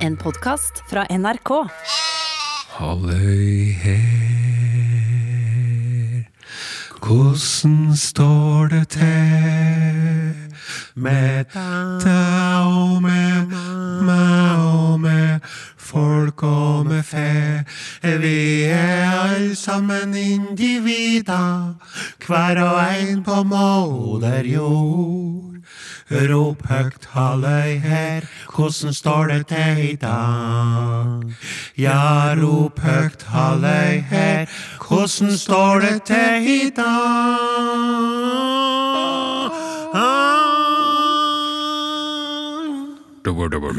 En podkast fra NRK. Halløy her, hvordan står det til med deg og med meg og med folk og med fe? Vi er alle sammen individer, hver og en på moder jord. Rop høgt halløy her, hvordan står det til i dag? Ja, rop høgt halløy her, hvordan står det til i dag?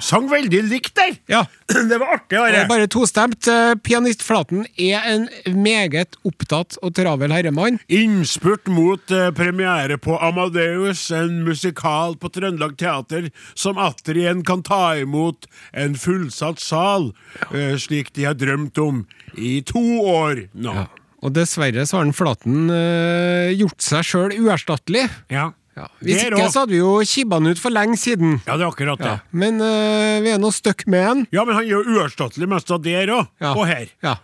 sang veldig likt der. Ja, Det var artig, det er Are. bare tostemt. Eh, Pianist Flaten er en meget opptatt og travel herremann. Innspurt mot eh, premiere på Amadeus, en musikal på Trøndelag Teater som atter igjen kan ta imot en fullsatt sal, eh, slik de har drømt om i to år nå. Og dessverre så har han Flaten eh, gjort seg sjøl uerstattelig. Ja, Hvis Det er ikke rå. så hadde vi jo kibba han ut for lenge siden. Ja, det er akkurat det. Ja. Men eh, vi er nå stuck med han. Ja, men han gjør uerstattelig mest av der òg, Ja. og her. Ja.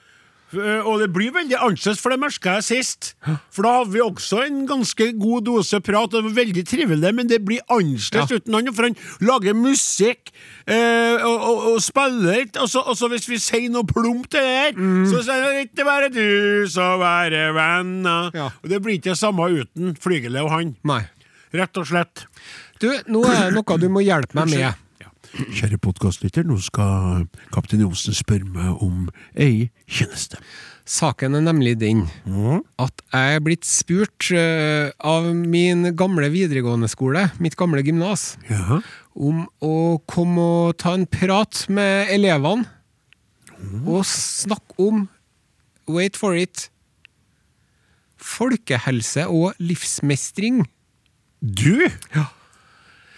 Eh, Og det blir veldig annerledes, for det merka jeg sist. For da hadde vi også en ganske god dose prat, og det var veldig trivelig, men det blir annerledes Ja. uten han, for han lager musikk eh, og, og, og spiller, og så, og så hvis vi sier noe plumpt til det her, Mm. så sier han 'ikke være du, så være venner'. Ja. Og det blir ikke det samme uten Flygelet og han, Nei. rett og slett. Du, nå er det noe du må hjelpe meg med. Ja. Kjære podkastlytter, nå skal kaptein Johnsen spørre meg om ei tjeneste. Saken er nemlig den Mhm. at jeg er blitt spurt eh, av min gamle videregående skole, mitt gamle gymnas, Ja. om å komme og ta en prat med elevene og snakke om Wait for it. Folkehelse og livsmestring. Du? Ja.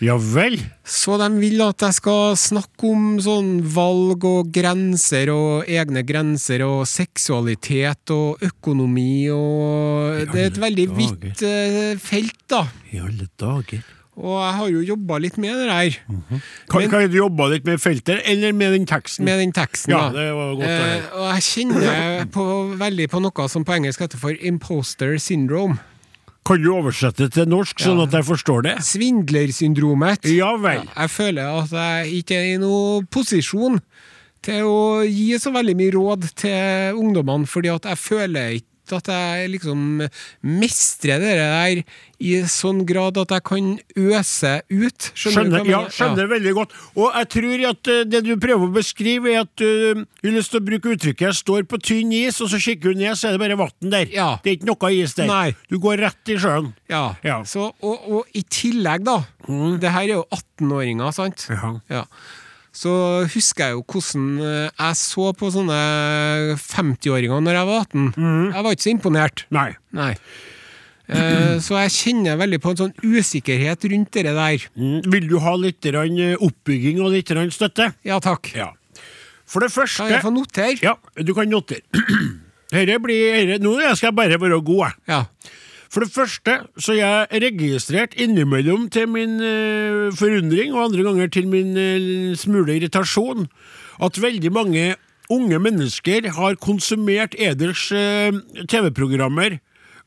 Ja vel. Så de vil at jeg skal snakke om sånn valg og grenser og egne grenser og seksualitet og økonomi og Det er et veldig vidt eh, felt, da. I alle dager. Og jeg har jo jobba litt med det der. Kan, Men- kan du jobbe litt med feltet, eller med den teksten? Med den teksten, Mm. Ja, da. det var godt å høre. eh, og jeg kjenner på, veldig på noe som på engelsk heter for imposter syndrome. Kan du oversette til norsk, sånn at jeg forstår det? Svindlersyndromet. Ja vel. Jeg føler at jeg ikke er i noen posisjon til å gi så veldig mye råd til ungdommene, fordi at jeg føler ikke at jeg liksom mestrer det der i sånn grad at jeg kan øse ut. Skjønner, du hva jeg ja, mener? skjønner veldig godt. Og jeg tror at eh, det du prøver å beskrive, er at eh, du har lyst til å bruke uttrykket 'jeg står på tynn is', og så kikker du ned, så er det bare vann der. Ja. Det er ikke noe is der. Nei. Du går rett i sjøen. Ja. Ja. Mm. Så, og, og i tillegg, da. Det her er jo 18-åringer, sant? Ja. Så husker jeg jo hvordan eh, jeg så på sånne 50-åringer når jeg var 18. Jeg var ikke så imponert. Mhm. Nei. Nei. Eh, Så jeg kjenner veldig på en sånn usikkerhet rundt det der. Mm. Vil du ha litt grann, eh, oppbygging og litt grann støtte? Ja takk. Ja. For det første Kan jeg få notere? Ja, du kan notere. Herre blir, herre, nå skal jeg bare være god, jeg. Ja. For det første så er jeg registrert innimellom til min eh, forundring, og andre ganger til min eh, smule irritasjon, at veldig mange unge mennesker har konsumert eders eh, TV-programmer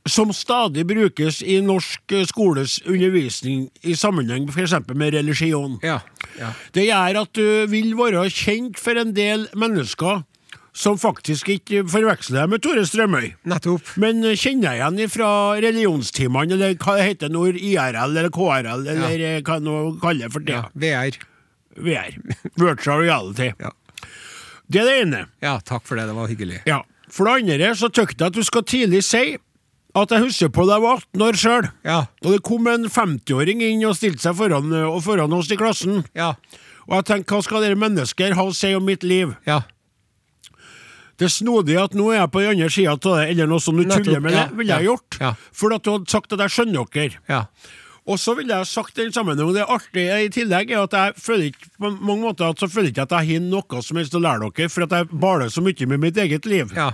som stadig brukes i norsk eh, skoles undervisning i sammenheng f.eks. med religion. Ja. ja. Det gjør at du vil være kjent for en del mennesker som faktisk ikke forveksler deg med Tore Strømøy. Nettopp. Men eh, kjenner jeg igjen fra religionstimene, eller hva det heter nå, IRL eller KRL, eller eh, hva nå kaller det for det. Ja. VR. VR. Virtual reality. Ja. Det er det ene. ja, takk for det. Det var hyggelig. Ja. For det andre så tykte jeg at du skal tidlig si at jeg husker på da jeg var 18 år sjøl. Ja. Og det kom en 50-åring inn og stilte seg foran, eh, og foran oss i klassen. Ja. Og jeg tenkte, hva skal dere mennesker ha å si om mitt liv? Ja. Det snodige at nå er jeg på den andre sida av det, eller noe sånt du Nettopp, tuller med, ja, det ville jeg ja, gjort. ja. For at du hadde sagt at jeg skjønner dere. Ja. Og så ville jeg sagt i den sammenhengen, det artige i tillegg er at jeg føler ikke på mange måter at så føler jeg ikke at jeg har noe som helst å lære dere, for at jeg baler så mye med mitt eget liv. Ja.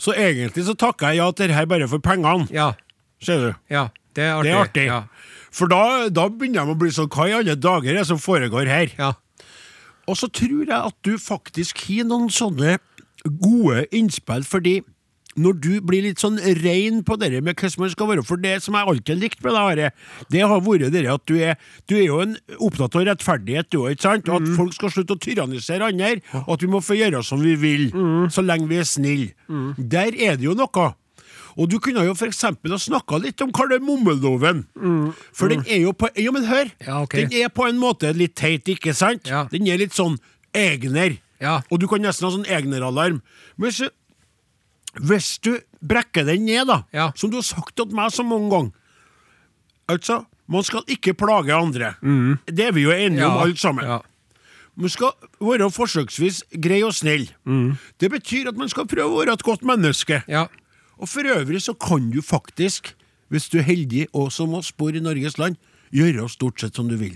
Så egentlig så takker jeg ja til dette bare for pengene, Ja. ser du. ja. Det er artig. Det er artig. Ja. For da, da begynner de å bli sånn, hva i alle dager er det som foregår her? ja. Og så tror jeg at du faktisk har noen sånne gode innspill, fordi når du blir litt sånn rein på det med hvordan man skal være For det som jeg alltid har likt med deg, Are, det har vært det at du er, du er jo en opptatt av rettferdighet, du òg, ikke sant? Og Mm. at folk skal slutte å tyrannisere andre, og at vi må få gjøre som vi vil, Mm. så lenge vi er snille. Der er det jo noe. Og du kunne jo for eksempel ha snakka litt om kardemommeloven. For den er jo på Ja, men hør! Mm. Ja, ok. Den er på en måte litt teit, ikke sant? Ja. Den er litt sånn egner. Ja. Og du kan nesten ha sånn egneralarm. Men så, hvis du brekker den ned, da, Ja. som du har sagt til meg så mange ganger Altså, man skal ikke plage andre. Det er vi jo enige om, alle sammen. Mm. Ja. Man skal være forsøksvis grei og snill. Mm. Det betyr at man skal prøve å være et godt menneske. ja. Og for øvrig så kan du faktisk, hvis du er heldig og som oss bor i Norges land, gjøre stort sett som du vil.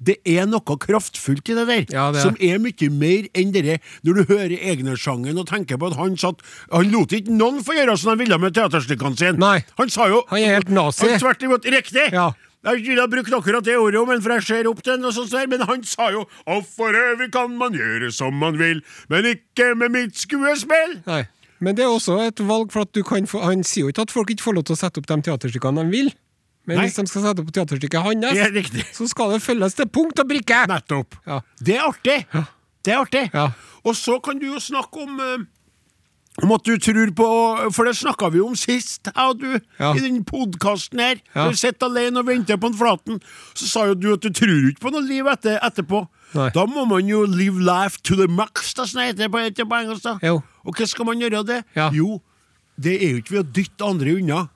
Det er noe kraftfullt i det der, Mm. Ja, det er. som er mye mer enn det der når du hører Egner-sangen og tenker på at han satt Han lot ikke noen få gjøre som han ville med teaterstykkene sine. Nei. Han sa jo Han er helt nazi. Han tvert imot riktig! Ja. Jeg ville ha brukt akkurat det ordet, men for jeg ser opp til den, og sånt der, men han sa jo 'Og for øvrig kan man gjøre som man vil, men ikke med mitt skuespill'. Nei. Men det er også et valg, for at du kan få, han sier jo ikke at folk ikke får lov til å sette opp de teaterstykkene de vil. Men Nei. hvis de skal sette opp teaterstykket Det er hans, riktig. så skal det følges til punkt og prikke! Nettopp. Ja. Det er artig. Det er artig. Ja. Og så kan du jo snakke om eh, om at du tror på For det snakka vi jo om sist, jeg og du, Ja. i den podkasten her. Ja. Du sitter alene og venter på en Flaten. Så sa jo du at du tror ikke på noe liv etter, etterpå. Nei. Da må man jo live life to the max, da, som det heter på, heter på engelsk. da. Jo. Og hva skal man gjøre av det? Ja. Jo, det er jo ikke ved å dytte andre unna.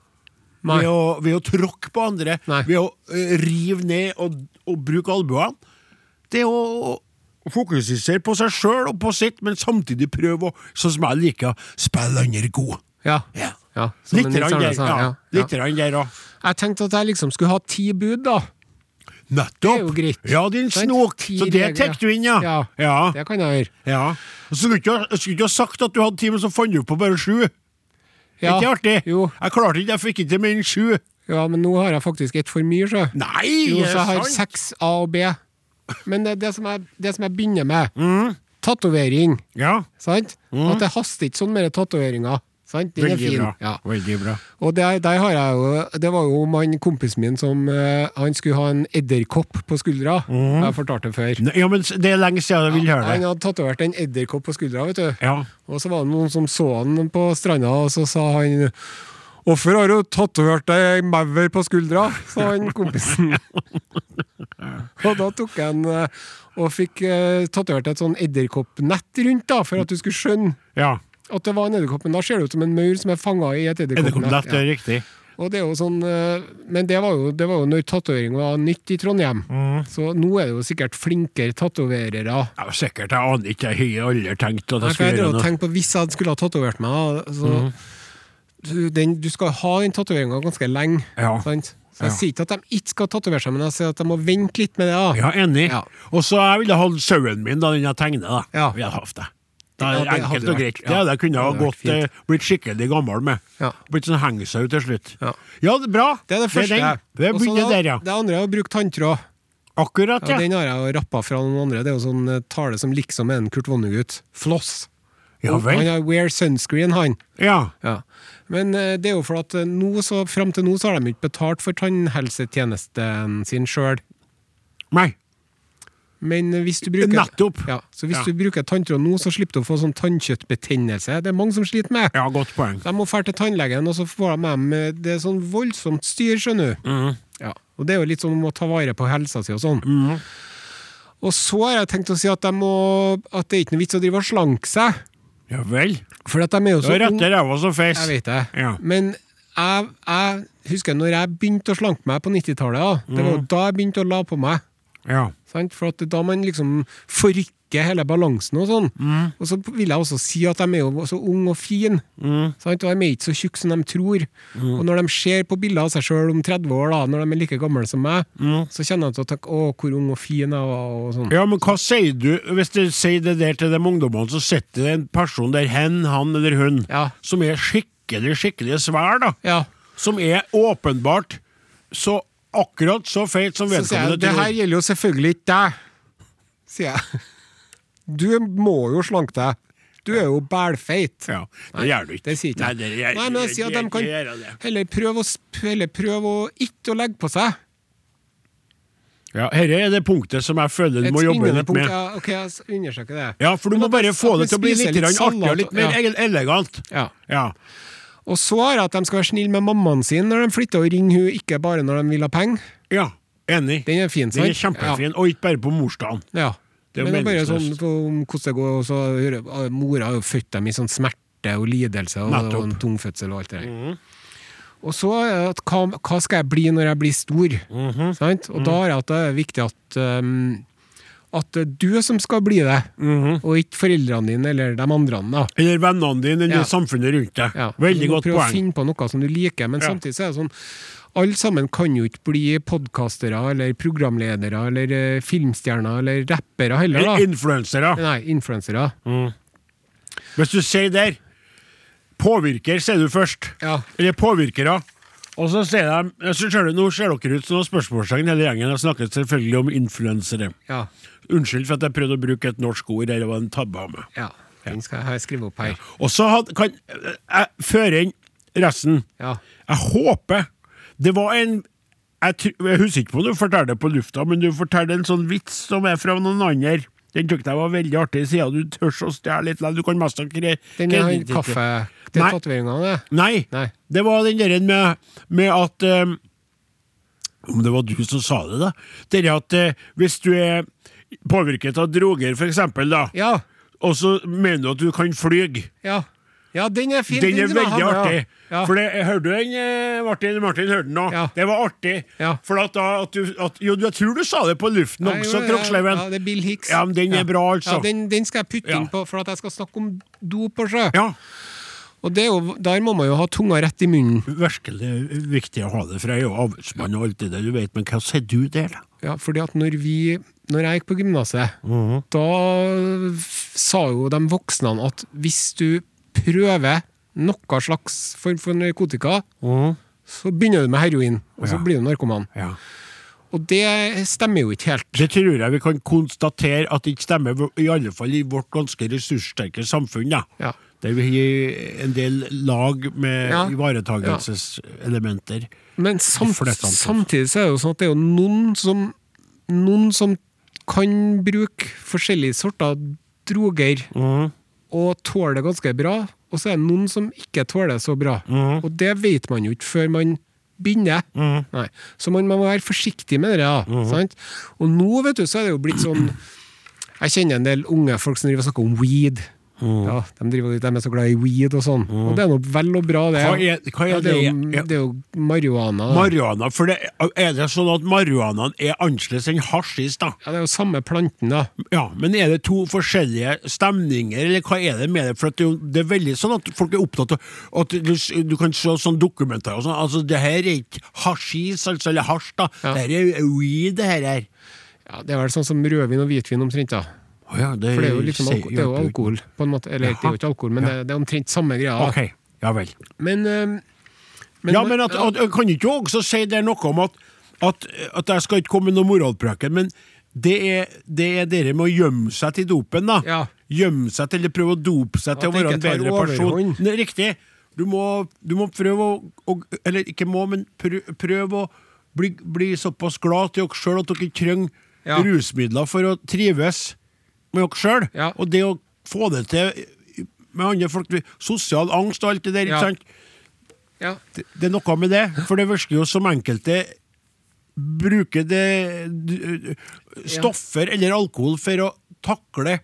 Nei. Ved å, ved å tråkke på andre. Nei. Ved å eh, rive ned og, og bruke albuene. Det er å fokusere på seg sjøl og på sitt, men samtidig prøve å, sånn som jeg liker, spille andre god. Ja. Ja. Ja, som en Litt Nils rann Arne der, sa, ja. ja, ja. Litt rann der òg. Jeg tenkte at jeg liksom skulle ha ti bud, da. Nettopp! Det er jo greit. Ja, din Sant? snok. Ti Så det regler. tek du inn, ja. Ja. ja. Det kan jeg gjøre. ja. Og så skulle du ikke ha- skulle du ikke ha sagt at du hadde ti, men så fant du på bare sju. Ja. Ikke artig? Jo. Jeg klarte ikke, jeg fikk ikke til mer enn sju. Ja, men nå har jeg faktisk ett for mye, så. Nei, Jo, er så jeg har sant? seks A og B. Men det, det, som, jeg, det som jeg begynner med, Mm. tatovering, Ja, sant? At det haster ikke sånn med det tatoveringa. Sant? Den er Mm. veldig fin. bra. Ja. Veldig bra. Og der, der har jeg jo Det var jo om han kompisen min som eh, Han skulle ha en edderkopp på skuldra. Jeg har fortalt det før. Nei, Ja, men s- det er lenge siden Mm. jeg vil høre Han det. hadde tatovert en edderkopp på skuldra, vet du. Ja. Og så var det noen som så han på stranda, og så sa han Hvorfor har du tatovert deg ei maur på skuldra? sa han kompisen. og da tok han eh, og fikk eh, tatovert et sånn edderkoppnett rundt, da, for at du skulle skjønne ja. at det var en edderkopp. Men da ser det ut som en maur som er fanga i et Edderkoppnett, edderkoppnett. det Ja. er riktig. Og det er jo sånn, eh, men det var jo, det var jo når tatovering var nytt i Trondheim. Mm. Så nå er det jo sikkert flinkere tatoverere. Ja, sikkert. Jeg aner ikke. Jeg har aldri tenkt at jeg skulle Jeg kan gjøre Mm. jo noe. tenke på Hvis jeg hadde skulle ha tatovert meg da, så, du, den, du skal ha den tatoveringa ganske lenge. Ja. Sant? Så Ja. jeg sier ikke at de ikke skal tatovere seg, men jeg sier at de må vente litt med det. da Ja, enig. Ja. Og så jeg ville hatt sauen min da den jeg tegnet, da. Ja. Ville jeg hatt det. Det Ja, er det hadde enkelt og vært- greit. ja. Ja, det kunne jeg Det ha hadde vært gått, eh, blitt skikkelig gammel med. Ja. Blitt sånn hengesau til slutt. Ja. Ja, det er bra. Det er det første. den. Det Og så begynner da- der, ja. Det andre er å bruke tanntråd. Akkurat, Ja, ja. den har jeg jo rappa fra noen andre. Det er jo sånn eh, tale som liksom er en Kurt Vonnegut. Floss. Ja Og Han vel. har wear sunscreen, han. Ja. Ja. Men eh, det er jo for at eh, nå så, frem til nå så har de ikke betalt for tannhelsetjenesten sin sjøl. Nei. Men hvis du bruker Nettopp. ja, Så hvis Ja. du bruker tanntråd nå, så slipper du å få sånn tannkjøttbetennelse. Det er mange som sliter med. Ja, godt poeng. De må dra til tannlegen, og så får de dem eh, Det er sånn voldsomt styr, skjønner du. Mm. Ja. Og det er jo litt sånn om å ta vare på helsa si og sånn. Mm. Og så har jeg tenkt å si at, de må, at det er ikke noe vits å drive og slanke seg. Ja vel. For at de er jo Du så har unge. rette ræva som fes. Jeg vet det. Ja. Men jeg, jeg husker når jeg begynte å slanke meg på 90-tallet. da. Det var jo da jeg begynte å la på meg. Ja. Sant? For at da man liksom forrykker hele balansen og sånn. Og så vil jeg også si at de er jo så unge og fine. Sant? Og de er ikke så tjukke som de tror. Og når de ser på bilder av seg sjøl om 30 år, da, når de er like gamle som meg, så kjenner jeg til å tenke 'Å, hvor ung og fin jeg var', og sånn. Ja, men hva sier du hvis du sier det der til de ungdommene, så sitter det en person der, hen, han eller hun, Ja. som er skikkelig, skikkelig svær, da. Ja. Som er åpenbart så akkurat så feit som Så sier jeg vedkommende 'Det her tror. gjelder jo selvfølgelig ikke deg', sier jeg. Du må jo slanke deg. Du er jo bælfeit. Ja, det gjør du ikke. Det sier ikke Nei, jeg. det gjør- Nei, men jeg sier at de det- det gjør jeg det. kan heller prøve å, sp- heller prøve å ikke å legge på seg. Ja, Dette er det punktet som jeg føler du Et må jobbe springende litt punkt. med. Ja, ok, jeg undersøker det. Ja, for du må Men at bare jeg- få at det vi til å bli spiser litt, grann salat artig og litt og- mer ja. ele- elegant. Ja. Ja. Og så har jeg at de skal være snille med mammaen sin når de flytter, og ringe hun ikke bare når de vil ha penger. ja. Enig. Den er fin, sant? Den er kjempefin, og ikke bare på morsdagen. Ja. ja. Det er jo Men det er bare sånn meningsløst. på, om hvordan det går, og så hører ah, Mora har jo født dem i sånn smerte og lidelse og, og Nettopp. Mhm. en tung fødsel og alt det der. Og så er det at hva, hva skal jeg bli når jeg blir stor? Mhm. Sant? Og da er det at det er viktig at um, at det er du som skal bli det, Mhm. og ikke foreldrene dine eller de andre. Da. Eller vennene dine, eller Ja. samfunnet rundt deg. Ja. Veldig du må godt prøve å poeng. finne på noe som du liker, men Ja. samtidig så er det sånn alle sammen kan jo ikke bli podkastere eller programledere eller eh, filmstjerner eller rappere heller, da. Influensere. Nei, influensere. Mm. Hvis du sier der Påvirker, sier du først. Ja. Eller påvirkere. Og så sier de så ser du, Nå ser dere ut som noen spørsmålstegn hele gjengen. Jeg snakker selvfølgelig om influensere. Ja. Unnskyld for at jeg prøvde å bruke et norsk ord. Dette var en tabbe av meg. ja. Den skal jeg- har jeg skrevet opp her. Og så had- kan jeg føre inn resten. Ja. Jeg håper Det var en jeg, tr- jeg husker ikke på om du fortalte det på lufta, men du fortalte en sånn vits som er fra noen andre. Den syntes jeg var veldig artig, siden du tør å stjele litt. likevel. Du kan mest av kre- Den er kredittitte. han kaffe... Det Nei. er tatoveringene, det. Nei. Nei. Det var den der med, med at eh, Om det var du som sa det, da. Det er at eh, hvis du er påvirket av droger, for eksempel, da, Ja. og så mener du at du kan fly Ja. Ja, den er fin. den er skal jeg ha veldig med, artig. Ja. Ja. For det, hørte du den, eh, Martin? Martin hørte den nå. Ja. Det var artig. Ja. For at da, at du, at, jo, jeg tror du sa det på luften Nei, også, jo, Kroksleiven. Ja, det er Bill Hicks. Ja, men den er bra, altså. Ja, den, den skal jeg putte Ja. inn på, for at jeg skal snakke om dop og sjø. Ja, Og det er jo, der må man jo ha tunga rett i munnen. virkelig viktig å ha det, for jeg er jo avlsmann og alt det der, du vet. Men hva sier du der, da? Ja, fordi at når vi Når jeg gikk på gymnaset, da f- sa jo de voksne at hvis du prøver noe slags form for narkotika, så begynner du med heroin, og så Ja. blir du narkoman. Ja. Og det stemmer jo ikke helt. Det tror jeg vi kan konstatere at det ikke stemmer, i alle fall i vårt ganske ressurssterke samfunn, da. Ja. Der vi har en del lag med Ja. ivaretagelseselementer. Men samt, fleste antall. samtidig så er det jo sånn at det er jo noen som Noen som kan bruke forskjellige sorter droger Mhm. og tåler det ganske bra, og så er det noen som ikke tåler det så bra. Mhm. Og det vet man jo ikke før man begynner. Nei. Så man må være forsiktig med det. da, Mhm. Sant? Og nå vet du, så er det jo blitt sånn Jeg kjenner en del unge folk som driver og snakker om weed. Mhm. Ja, de, driver, de er så glad i weed og sånn. Og det er nå vel og bra, det. Hva er, hva er Ja, det, er jo, Ja. det er jo marihuana. Da. Marihuana, for det, er det sånn at marihuanaen er annerledes enn hasjis, da? ja, det er jo samme planten, da. Ja, men er det to forskjellige stemninger, eller hva er det med det? For at det, er jo- det er veldig sånn at folk er opptatt av at du, s- du kan se sånn dokumenter og sånn, altså det her er ikke hasjis, altså, eller hasj, da. Ja. Det her er weed, det her er. Ja, det er vel sånn som rødvin og hvitvin omtrent, da. Å ja, det, For det er jo liksom sier- alko det er jo alkohol, på en måte. Eller det er jo ikke alkohol, men det, det er omtrent samme greia. da. Ok, ja vel. Men, øhm, men, ja, men at, at, kan ikke du også si det er noe om at, at, at jeg skal ikke komme med noe moralpreken, men det er det er dere med å gjemme seg til dopen, da. Ja. Gjemme seg til eller prøve å dope seg til å At det være ikke en tar bedre person. overhånd. Ne, riktig. Du må, du må prøve å, å Eller ikke må, men prøv, prøv å bli, bli såpass glad til dere sjøl at dere ikke trenger Ja. rusmidler for å trives med dere sjøl. Ja. Og det å få det til med andre folk Sosial angst og alt det der, Ja. ikke sant? ja. det, det er noe med det, for det virker jo som enkelte bruker det d- stoffer eller alkohol for å takle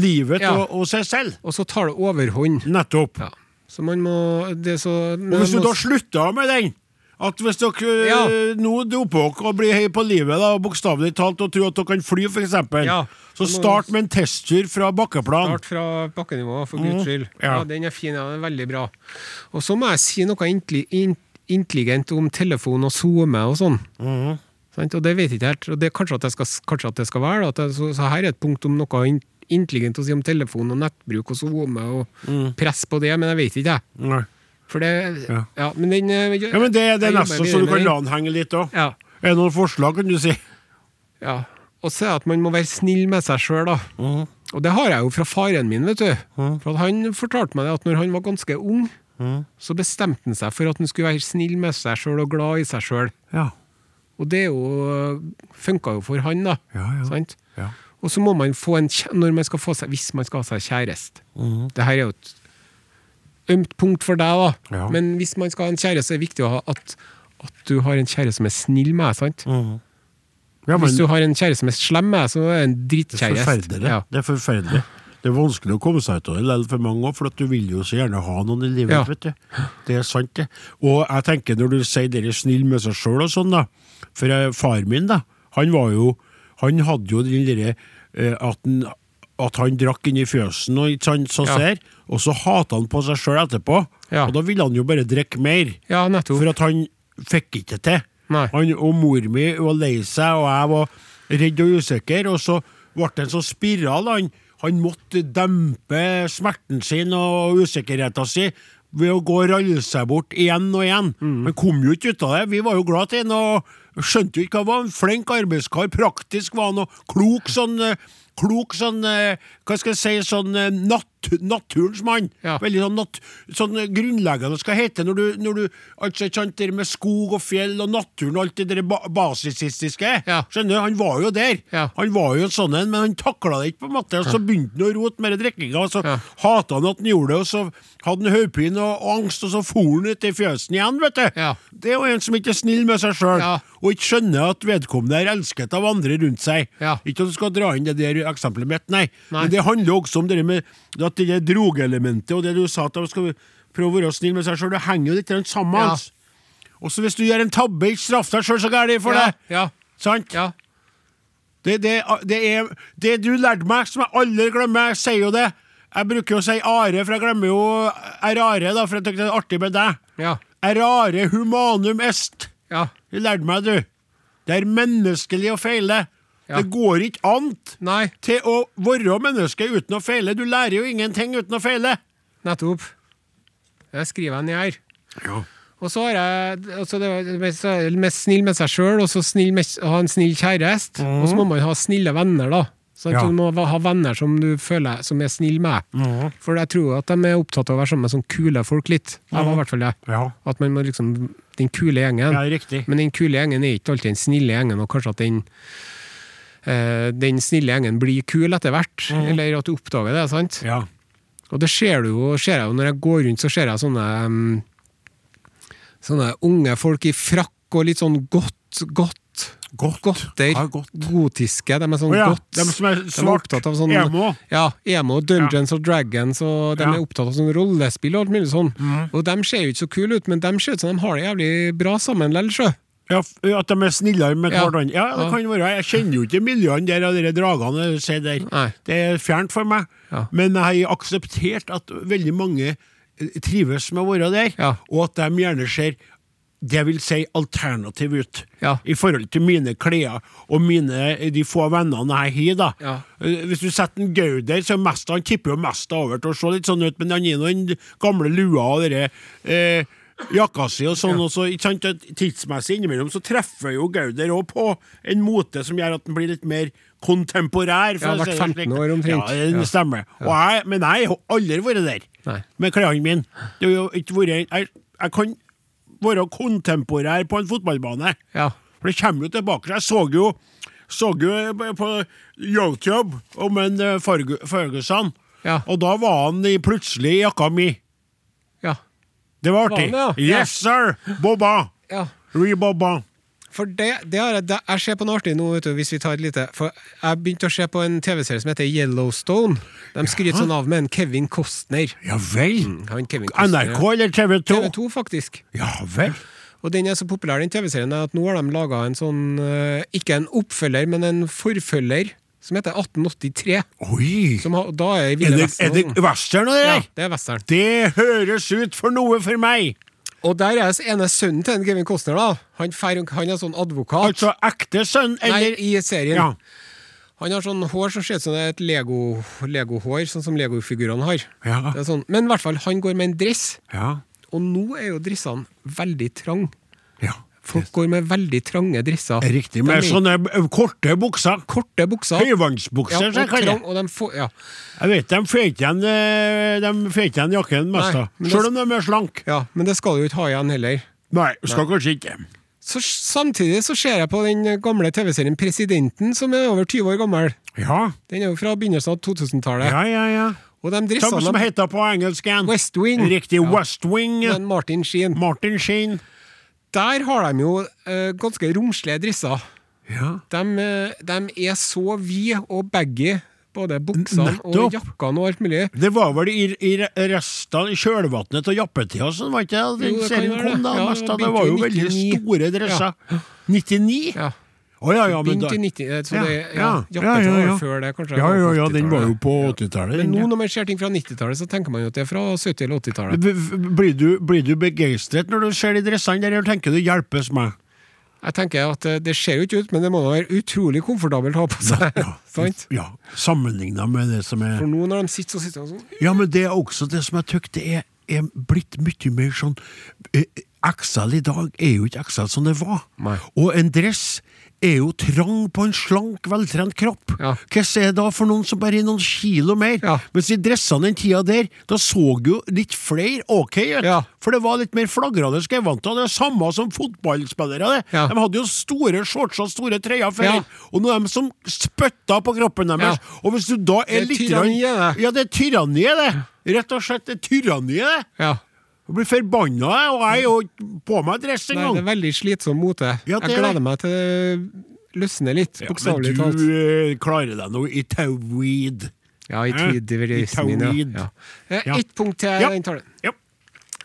livet Ja. og, og seg selv. Og så tar det overhånd. Nettopp. Ja. Så man må det er så, Og hvis du man må- da slutter med den at hvis dere Ja. eh, nå doper dere og blir høy på livet, da, bokstavelig talt, og tror at dere kan fly, f.eks., Ja. så Da må- start med en testtur fra bakkeplan. Start fra bakkenivå, for guds skyld. Mm, ja. Ja. den er fin. Ja, den er veldig bra. Og så må jeg si noe intelli- in- intelligent om telefon og SoMe og sånn. Mhm. Sant? Og det vet jeg ikke helt. Og det er kanskje at det skal, kanskje at det skal være. da, At det, så, så her er et punkt om noe in intelligent å si om telefon og nettbruk og SoMe og press på det, men jeg vet ikke, jeg. Nei. For Mm. det Ja. Ja, men den eh, Ja, men Det, det jeg er jobber nesten så videre du kan med la den. den henge litt òg. Ja. Er det noen forslag, kan du si? Mm. ja. Og så er det at man må være snill med seg sjøl, da. Og det har jeg jo fra faren min, vet du. For at han fortalte meg det at når han var ganske ung, Mm. så bestemte han seg for at han skulle være snill med seg sjøl og glad i seg sjøl. Ja. Og det er jo funka jo for han, da. Ja, ja. Sant? Ja. Og så må man få en kjæ- når man skal få seg, Hvis man skal ha seg kjæreste Mhm. Det her er jo et ømt punkt for deg, da. Ja. Men hvis man skal ha en kjæreste, er det viktig å ha at, at du har en kjæreste som er snill med deg. sant? Mhm. Ja, men Hvis du har en kjæreste som er slem med deg, så er det en det er drittkjæreste. forferdelig. Det er forferdelig. Det er vanskelig å komme seg ut av det likevel for mange òg, for at du vil jo så gjerne ha noen i livet. Ja. vet du. Det er sant, det. Og jeg tenker når du sier det er snill med seg sjøl og sånn, da. For eh, far min, da, han var jo Han hadde jo den derre eh, at, han- at han drakk inni fjøsen og ikke sant, sånn så Ja. ser, og så hata han på seg sjøl etterpå. Ja. Og da ville han jo bare drikke mer. Ja, ja nettopp. For at han fikk ikke det til. Nei. Han, og mor mi var lei seg, og jeg var redd og usikker, og så ble det en sånn spiral. Han, han måtte dempe smerten sin og usikkerheten sin ved å gå og ralle seg bort igjen og igjen. Mm. Han kom jo ikke ut av det. Vi var jo glad til han, og skjønte jo ikke hva han var. En flink arbeidskar, praktisk var han, og klok sånn eh, Klok sånn, eh, hva skal jeg si, sånn eh, nat naturens mann. Ja. Veldig veldig sånn, nat sånn grunnleggende skal hete når du, når du altså, ikke sant, det med skog og fjell og naturen og alt det der ba basisistiske. Ja. Skjønner du? Han var jo der. Ja. Han var jo en sånn en, men han takla det ikke, på en måte. Og så begynte han å rote med drikkinga, og så Ja. hata han at han gjorde det, og så hadde han hodepine og angst, og så for han ut i fjøsen igjen, vet du. Ja. Det er jo en som ikke er snill med seg sjøl, Ja. og ikke skjønner at vedkommende er elsket av andre rundt seg. Ja. Ikke at du skal dra inn det der eksempelet mitt, nei. Nei. Men det handler også om det der med at det der drogelementet og det du sa at de skal prøve å være snill med seg sjøl, det henger jo litt grann sammen. Ja. altså. Og så hvis du gjør en tabbe, ikke straff deg sjøl så gærent for ja, det. ja, Sant? ja. Det, det, det er det du lærte meg, som jeg aldri glemmer, jeg sier jo det. Jeg bruker jo å si are, for jeg glemmer jo er are, da, for jeg tenkte det er artig med deg. Ja. Er are humanum est. ja. Du lærte meg, du. Det er menneskelig å feile. Ja. Det går ikke an Nei, til å være menneske uten å feile. Du lærer jo ingenting uten å feile. nettopp. Det skriver jeg ned her. Og så har jeg altså det var mest, mest snill med seg sjøl, og så snill med, ha en snill kjæreste. Og så må man ha snille venner, da. Sant? Mhm. Ja. Du må ha venner som du føler som er snille med. Mhm. For jeg tror at de er opptatt av å være sammen med sånne kule folk litt. Jeg var i hvert fall det. Ja. At man må liksom Den kule gjengen. Mhm. Ja, riktig. Men den kule gjengen er ikke alltid den snille gjengen, og kanskje at den eh, den snille gjengen blir kul etter hvert, Mhm. eller at du oppdager det. sant? Ja. Og det ser du jo, ser jeg jo når jeg går rundt, så ser jeg sånne, mm, sånne unge folk i frakk og litt sånn godt, godt, Godt. godter. Ja, godt. Gotiske. De er sånn Å ja, godt. dem som er svart. opptatt av sånn, Emo. Ja, emo, Dungeons og Dragons, og de Ja. Mhm. er opptatt av sånn rollespill og alt mulig sånn. Og de ser jo ikke så kule ut, men de ser ut som de har det jævlig bra sammen likevel, sjø. Ja, f- At de er snillere med Ja. hverandre. Ja, det Ja. kan være. Jeg kjenner jo ikke miljøene der av de dragene du ser der. Nei. Det er fjernt for meg. Ja. Men jeg har akseptert at veldig mange eh, trives med å være der, Ja. og at de gjerne ser det vil si alternativ ut, Ja. i forhold til mine klær og mine, de få vennene jeg har. da. Ja. Eh, Hvis du setter en Gauder, så er mest, han tipper jo mest over til å se litt sånn ut, men han gir noen gamle lua og dere, eh, jakka si og sånn. og så, ikke sant, at Tidsmessig innimellom så treffer jo Gauder òg på en mote som gjør at den blir litt mer kontemporær. for Ja, å vært si det slik. 15 år Ja, omtrent. det Ja. stemmer. Og jeg, men jeg har aldri vært der Nei. med klærne mine. Det har jo ikke vært, jeg, jeg kan være kontemporær på en fotballbane. Ja. For det kommer jo tilbake. Jeg så jo, så jo på- på YouTube om en eh, Fergu- Ferguson, Ja. og da var han i plutselig i jakka mi. Ja. Det var artig. Var han det, ja? Yes, sir! Bobba! ja. Re-bobba. For det, det har jeg, det, jeg ser på noe artig nå, vet du, hvis vi tar et lite For jeg begynte å se på en TV-serie som heter Yellowstone. De skryter sånn av med en Kevin Costner. Mm, Ja vel. Han Kevin Costner. NRK eller TV 2? TV 2, faktisk. Ja vel. Og den er så populær, den TV-serien, at nå har de laga en sånn eh, Ikke en oppfølger, men en forfølger, som heter 1883. Oi! Som har, da er i Er Ville det, er det Vesten. western og det Ja, der? det er western. Det høres ut for noe for meg! Og der er s- ene sønnen til en Kevin Costner, da. Han, fer, han er sånn advokat. Altså ekte sønn Nei, eller i serien. Ja. Han har sånn hår som ser ut som det er et Lego- Lego-hår, sånn som Lego-figurene har. Ja. Det er sånn. Men i hvert fall, han går med en dress, Ja. og nå er jo dressene veldig trang. ja. Folk går med veldig trange dresser. Riktig. sånn Med De er- sånne b- korte bukser. Korte bukser. Høyvannsbukser, så og jeg kaller trang, det. og de får, ja. Jeg vet, de får ikke igjen, eh, de får ikke igjen jakken mest, Nei, da. men det- Selv om de er slank. ja, men det skal du jo ikke ha igjen heller. Nei, skal kanskje ikke. Så s- Samtidig så ser jeg på den gamle TV-serien Presidenten, som er over 20 år gammel. Ja, Den er jo fra begynnelsen av 2000-tallet. ja, ja. ja. Og de Som, som dressene heter på engelsk igjen. West Wing. Riktig. Ja. West Wing. Men Martin Sheen. Martin Sheen. Der har de jo eh, ganske romslige dresser. Ja. De, eh, de er så vide og baggy, både buksene Nettopp. og jakkene og alt mulig. Det var vel i, i restene, i kjølvannet av jappetida, sånn, var ikke det? Den Jo, det kan serien være kom det. da, Ja, mest, da. det Det var jo begynte i veldig 99. store dresser. 99? Å ja. Ja. ja, men da Begynt i 90, eh, så Ja, det, ja, jappetiden var før det, kanskje. Ja, ja, ja, den var jo 80-tallet. på 80-tallet. Men den, nå ja. når man ser ting fra 90-tallet, så tenker man jo at det er fra 70- eller 80-tallet. B- b- Blir du, blir du begeistret når du ser de dressene der, eller tenker du 'hjelpes meg'? Jeg tenker at eh, det ser jo ikke ut, men det må da være utrolig komfortabelt å ha på seg. Sant? ja. Sammenligna med det som er For nå når de sitter, så sitter de sånn. Ja, men det er også det som jeg tykker det er, er blitt mye mer sånn eh, Excel i dag er jo ikke Excel som det var. Nei. Og en dress er jo trang på en slank, veltrent kropp. Ja. Hva er det da for noen som bare er noen kilo mer? Ja. Mens i dressene den tida der, da så jo litt flere ok ut. Ja. For det var litt mer flagrende skrevanter. Det er samme som fotballspillere. det. Ja. De hadde jo store shorts og store trøyer før. Ja. Og nå er de som spytta på kroppen deres. Ja. Og hvis du da er, Det er litt tyranni, grann- det. ja, det er tyranniet, det. Rett og slett det er tyranniet, det. Ja. Jeg blir forbanna, jeg, og jeg er jo ikke på meg dress Nei, det engang. er veldig slitsom mote. Ja, Jeg det er det. gleder meg til det løsner litt, Ja, men bokstavelig du talt. eh, klarer deg nå i tauweed. Ja, i Hæ? tweed-diversen I min, ja. tweed. ja. Eh, Ja. Ett punkt til Ja. den talen. Ja.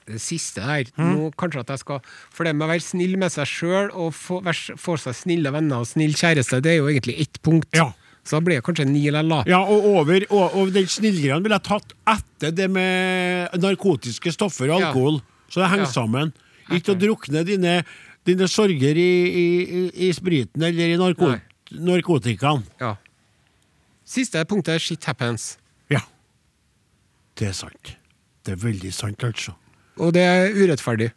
Det siste her, Mm. nå kanskje at jeg skal For det med å være snill med seg sjøl og få, være, få seg snille venner og snill kjæreste, det er jo egentlig ett punkt. Ja. Så da blir det kanskje ni eller la. ja, og over og, og den snillgreia ville jeg tatt etter det med narkotiske stoffer og Ja. alkohol. Så det henger Ja. sammen. Ikke å drukne dine, dine sorger i, i, i, i spriten eller i narko Nei. narkotikaen. Ja. Siste punktet er shit happens. Ja. Det er sant. Det er veldig sant, altså. Og det er urettferdig.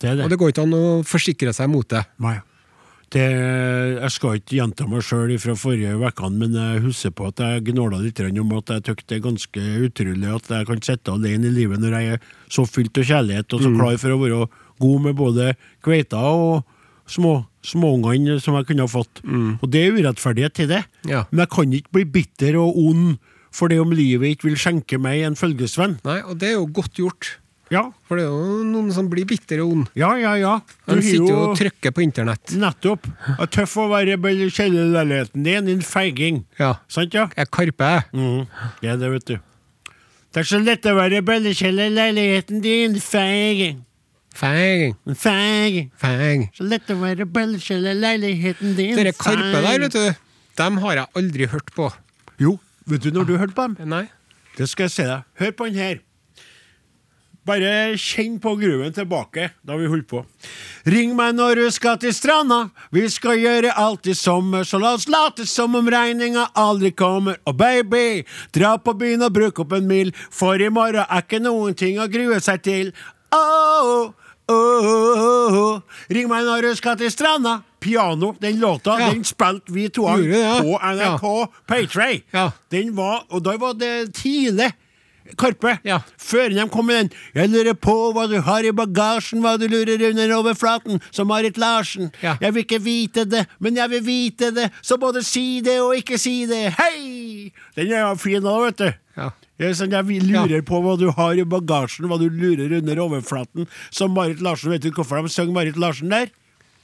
Det er Og det. det går ikke an å forsikre seg mot det. Nei. Det, jeg skal ikke gjenta meg sjøl fra forrige ukene, men jeg husker på at jeg gnåla litt grann om at jeg syns det er ganske utrolig at jeg kan sitte alene i livet når jeg er så fylt av kjærlighet Mm. og så klar for å være god med både kveita og små småungene som jeg kunne ha fått. Og det er urettferdighet til det, Mm. Ja. men jeg kan ikke bli bitter og ond for det om livet ikke vil skjenke meg en følgesvenn. Nei, og det er jo godt gjort. Ja, For det er jo noen som blir bitter og ond. ja, ja. ja. Du De har sitter jo og trykker på internett. Nettopp. Det er tøff å være i kjellerleiligheten din, din feiging. Ja. Sant, ja? Jeg karper, jeg. Mhm. Det er det, vet du. Det er så lett å være bøllekjeller i leiligheten din, feiging. Feng, Feiging. feng. Så lett å være bøllekjeller i leiligheten din, Dere karpe der, vet du, dem har jeg aldri hørt på. Jo, vet du når du hørte på dem? Nei. Det skal jeg si deg. Hør på den her. Bare kjenn på gruven tilbake da vi holdt på. Ring meg når du skal til stranda, vi skal gjøre alt i sommer, så la oss late som om regninga aldri kommer. Og baby, dra på byen og bruk opp en mil, for i morgen er ikke noen ting å grue seg til. Åh, åh, åh, åh. Ring meg når du skal til stranda. Piano, den låta, Ja. den spilte vi to Gjorde det, på ja. NRK Paytray. Ja. Den var, og da var det tidlig. Karpe, Ja. før de kom med den 'Jeg lurer på hva du har i bagasjen', 'hva du lurer under overflaten', som Marit Larsen. Ja. 'Jeg vil ikke vite det, men jeg vil vite det', så både si det og ikke si det. Hei! Den er jo fin òg, vet du. Ja. Det er sånn, jeg lurer på hva du har i bagasjen, hva du lurer under overflaten, som Marit Larsen. Vet du hvorfor de sang Marit Larsen der?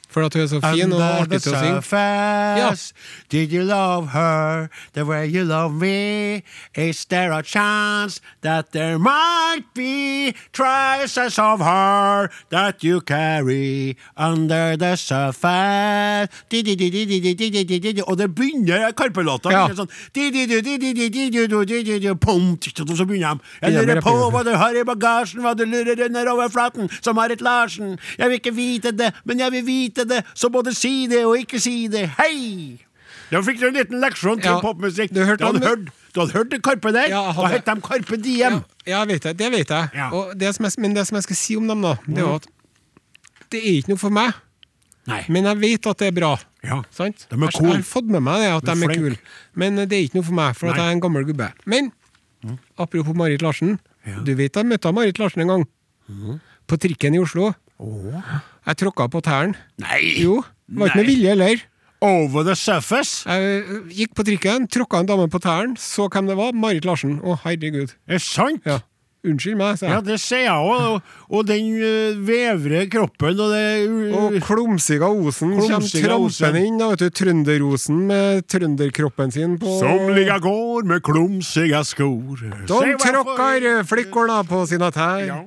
For at hun er så fin og Under artig the til å synge. surface, did you love her the way you love me? Is there a chance that there might be traces of her that you carry under the surface? Di-di-di-di-di-di-di-di-di-di. Og det begynner Karpe-låta. Ja. begynner Sånn, di-di-di-di-di-di-di-di-di-di-di. Pom, titt, og så begynner de. Jeg Begynner med lurer på refrenget. hva du har i bagasjen, hva du lurer under overflaten, som Marit Larsen. Jeg vil ikke vite det, men jeg vil vite det, så både si det og ikke si det. Hei! Da fikk du en liten leksjon til Ja, popmusikk. du hørte Du hadde han- hørt, du hadde hørt det Karpe der? Ja, jeg hadde. da het de Karpe Diem. Ja, ja, jeg vet det, det vet jeg. Ja. Mm. Og det som jeg, men det som jeg skal si om dem, da, det er jo at det er ikke noe for meg, Nei. men jeg vet at det er bra. Ja. Sant? De er Jeg- cool. Jeg har fått med meg det at De de er er flink. kule, men det er ikke noe for meg, for at Nei. Mm. jeg er en gammel gubbe. Men apropos Marit Larsen. Ja. Mm. Du vet jeg møtte Marit Larsen en gang. På trikken i Oslo. Jeg tråkka på tærne. Nei. Jo, det var ikke med Nei. vilje heller. Over the surface? Jeg øh, gikk på trikken, tråkka en dame på tærne, så hvem det var. Marit Larsen. Å, herregud. Er det sant? Ja. Unnskyld meg, sa Ja, jeg. det ser jeg òg. Og, og den uh, vevre kroppen og det Og klumsiga Osen kommer Klumsiga Osen. trampende inn. da, vet du, Trønderosen med trønderkroppen sin på Somliga går med klumsiga skor. De tråkker eh, flikkorna på sine tær. Ja.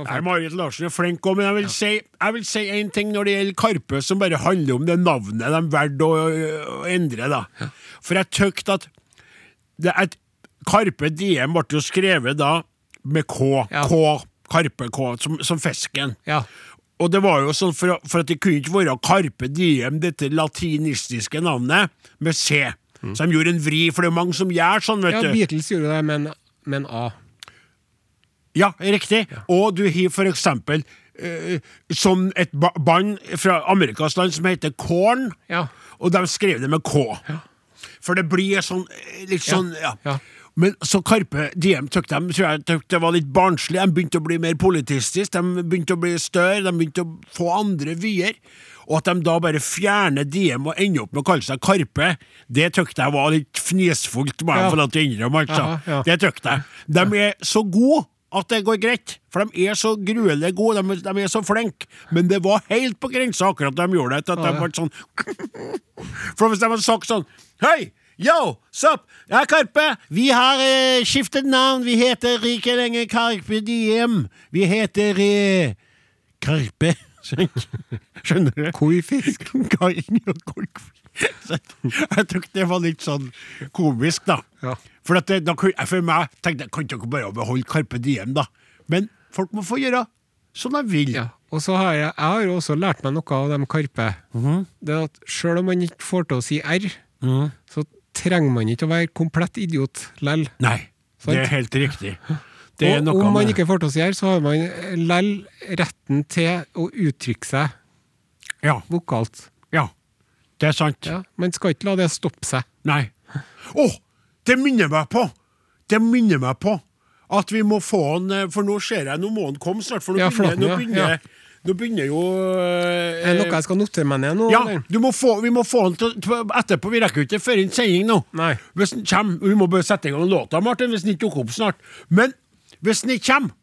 Nei, Marit Larsen er flink òg, men jeg vil, si, jeg vil si en ting når det gjelder Karpe, som bare handler om det navnet de valgte å, å endre, da. For jeg tykte at det, at Karpe Diem ble jo skrevet da med K. Ja. K. Karpe K, som, som fisken. Ja. Og det var jo sånn for, for at det kunne ikke være Carpe Diem, dette latinistiske navnet, med C. Så de gjorde en vri, for det er mange som gjør sånn, vet Mm. Ja, du. Beatles gjorde det med en, med en A. Ja, riktig. Og du har for eksempel eh, sånn et ba band fra Amerikas land som heter Korn, Ja. og de skrev det med K. For det blir sånn eh, litt sånn, ja. ja. Men så Karpe Diem tøkte dem, tror jeg tøkte det var litt barnslig. De begynte å bli mer politistiske, de begynte å bli større, de begynte å få andre vyer. Og at de da bare fjerner Diem og ender opp med å kalle seg Karpe, det tøkte jeg var litt fnisfullt, må jeg Ja. få lov til å innrømme. altså. Jaha, ja. Det tøkte jeg. De er så gode at det går greit, for de er så gruelig gode, de, de er så flinke. Men det var helt på grensa akkurat da de gjorde det, til at Ja, de ja. ble sånn for hvis de hadde sagt sånn Hei! Yo! Sup! Jeg er Karpe. Vi har eh, skiftet navn. Vi heter ikke lenger Karpe Diem. Vi heter eh, Karpe. Skjønner du? Koifisk. Karing og kork. Så Jeg tok det var litt sånn komisk, da. Ja. For, at det, da, kunne- jeg- for meg tenkte jeg, kan dere bare beholde Karpe Diem, da? Men folk må få gjøre som de vil. Ja. Og så har jeg, jeg har jo også lært meg noe av dem Karpe. Mhm. Det er at Sjøl om man ikke får til å si R, så trenger man ikke å være komplett idiot lell. Nei, Sant. det er helt riktig. Det er og noe om man med- ikke får til å si R, så har man lell retten til å uttrykke seg ja, vokalt. ja. Det er sant. Ja. Man skal ikke la det stoppe seg. Nei. Å, det minner meg på! Det minner meg på at vi må få han eh, For nå ser jeg, nå må han komme snart, for nå Ja, begynner, Flaten, nå ja, begynner, ja. Nå begynner jo Er det eh, noe jeg skal notere meg ned nå? ja, eller? du må få, vi må få han til, til etterpå. Vi rekker jo ikke før en sending nå. Nei. Hvis han kommer, Vi må bare sette i gang låta, Martin, hvis han ikke dukker opp snart. Men hvis han ikke kommer,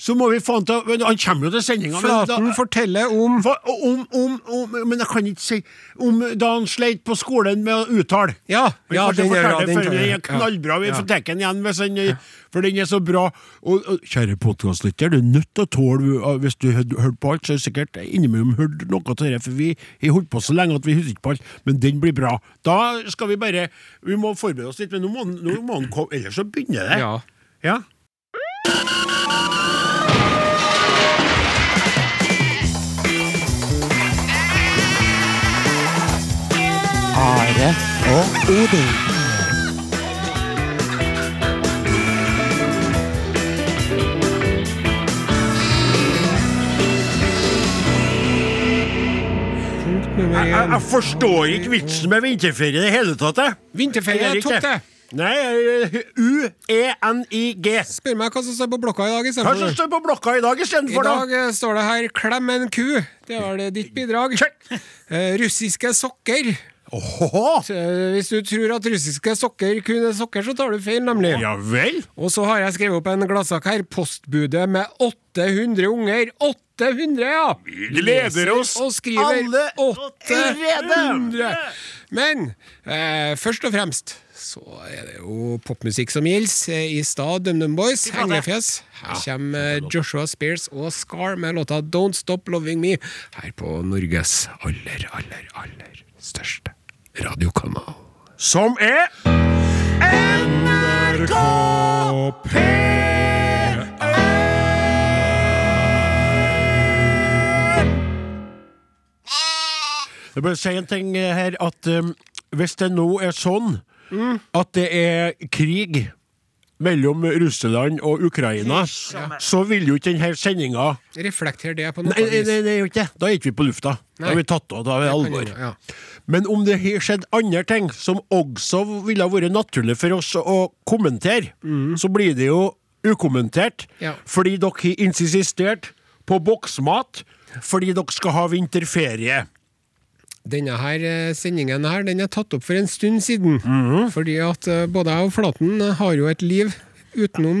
så må vi få han til å- Han kommer jo til sendinga. men da- Flaten forteller om for, om, om, om, men jeg kan ikke si Om da han sleit på skolen med å uttale. Ja, Vi ja, får se den er fortelle bra, den før kan Den jeg. er knallbra. Vi Ja. får ta den igjen, hvis han, for den er så bra. Og, og, kjære podkastlytter, du er nødt til å tåle uh, Hvis du hadde hørt på alt, så har du sikkert innimellom hørt noe av det, for vi har holdt på så lenge at vi husker ikke på alt. Men den blir bra. Da skal vi bare Vi må forberede oss litt, men nå må, han- nå må han komme, ellers så begynner det. Ja. Ja. Are og Odin. Punkt nummer Jeg, én. jeg forstår ikke vitsen med vinterferie i det hele tatt. jeg. Vinterferie Jeg er gjør ikke topp, det. Nei, eh, U-E-N-I-G. Spør meg hva som står på blokka i dag. i stedet Hva for som det. står på blokka i dag I istedenfor, da? dag eh, står det her 'klem en ku'. Det var det ditt bidrag. Eh, russiske sokker. Åhå! Så, eh, hvis du tror at russiske sokker kun er sokker, så tar du feil, nemlig. Ja vel? Og så har jeg skrevet opp en gladsak her. Postbudet med 800 unger. 800, ja! gleder oss og skriver alle 800! Men eh, først og fremst så er det jo popmusikk som gjelder. Eh, I stad DumDum Boys, Hengefjes. Her kommer eh, Joshua Spears og Scar med låta Don't Stop Loving Me her på Norges aller, aller, aller største radiokanal. Som er NRK Jeg bare si en ting her, at um, hvis det nå er sånn at det er krig mellom Russland og Ukraina, så vil jo ikke denne sendinga Reflekter det på noe Nei, nei, vis. nei, nei, gjør ikke det. Da er ikke vi på lufta. Da Nei. er vi tatt av. Da er det alvor. Ja. Men om det har skjedd andre ting som også ville ha vært naturlig for oss å kommentere, så blir det jo ukommentert. Ja. Fordi dere har insistert på boksmat fordi dere skal ha vinterferie. Denne her eh, sendingen her, den er tatt opp for en stund siden. Mhm. Fordi at eh, både jeg og Flaten eh, har jo et liv utenom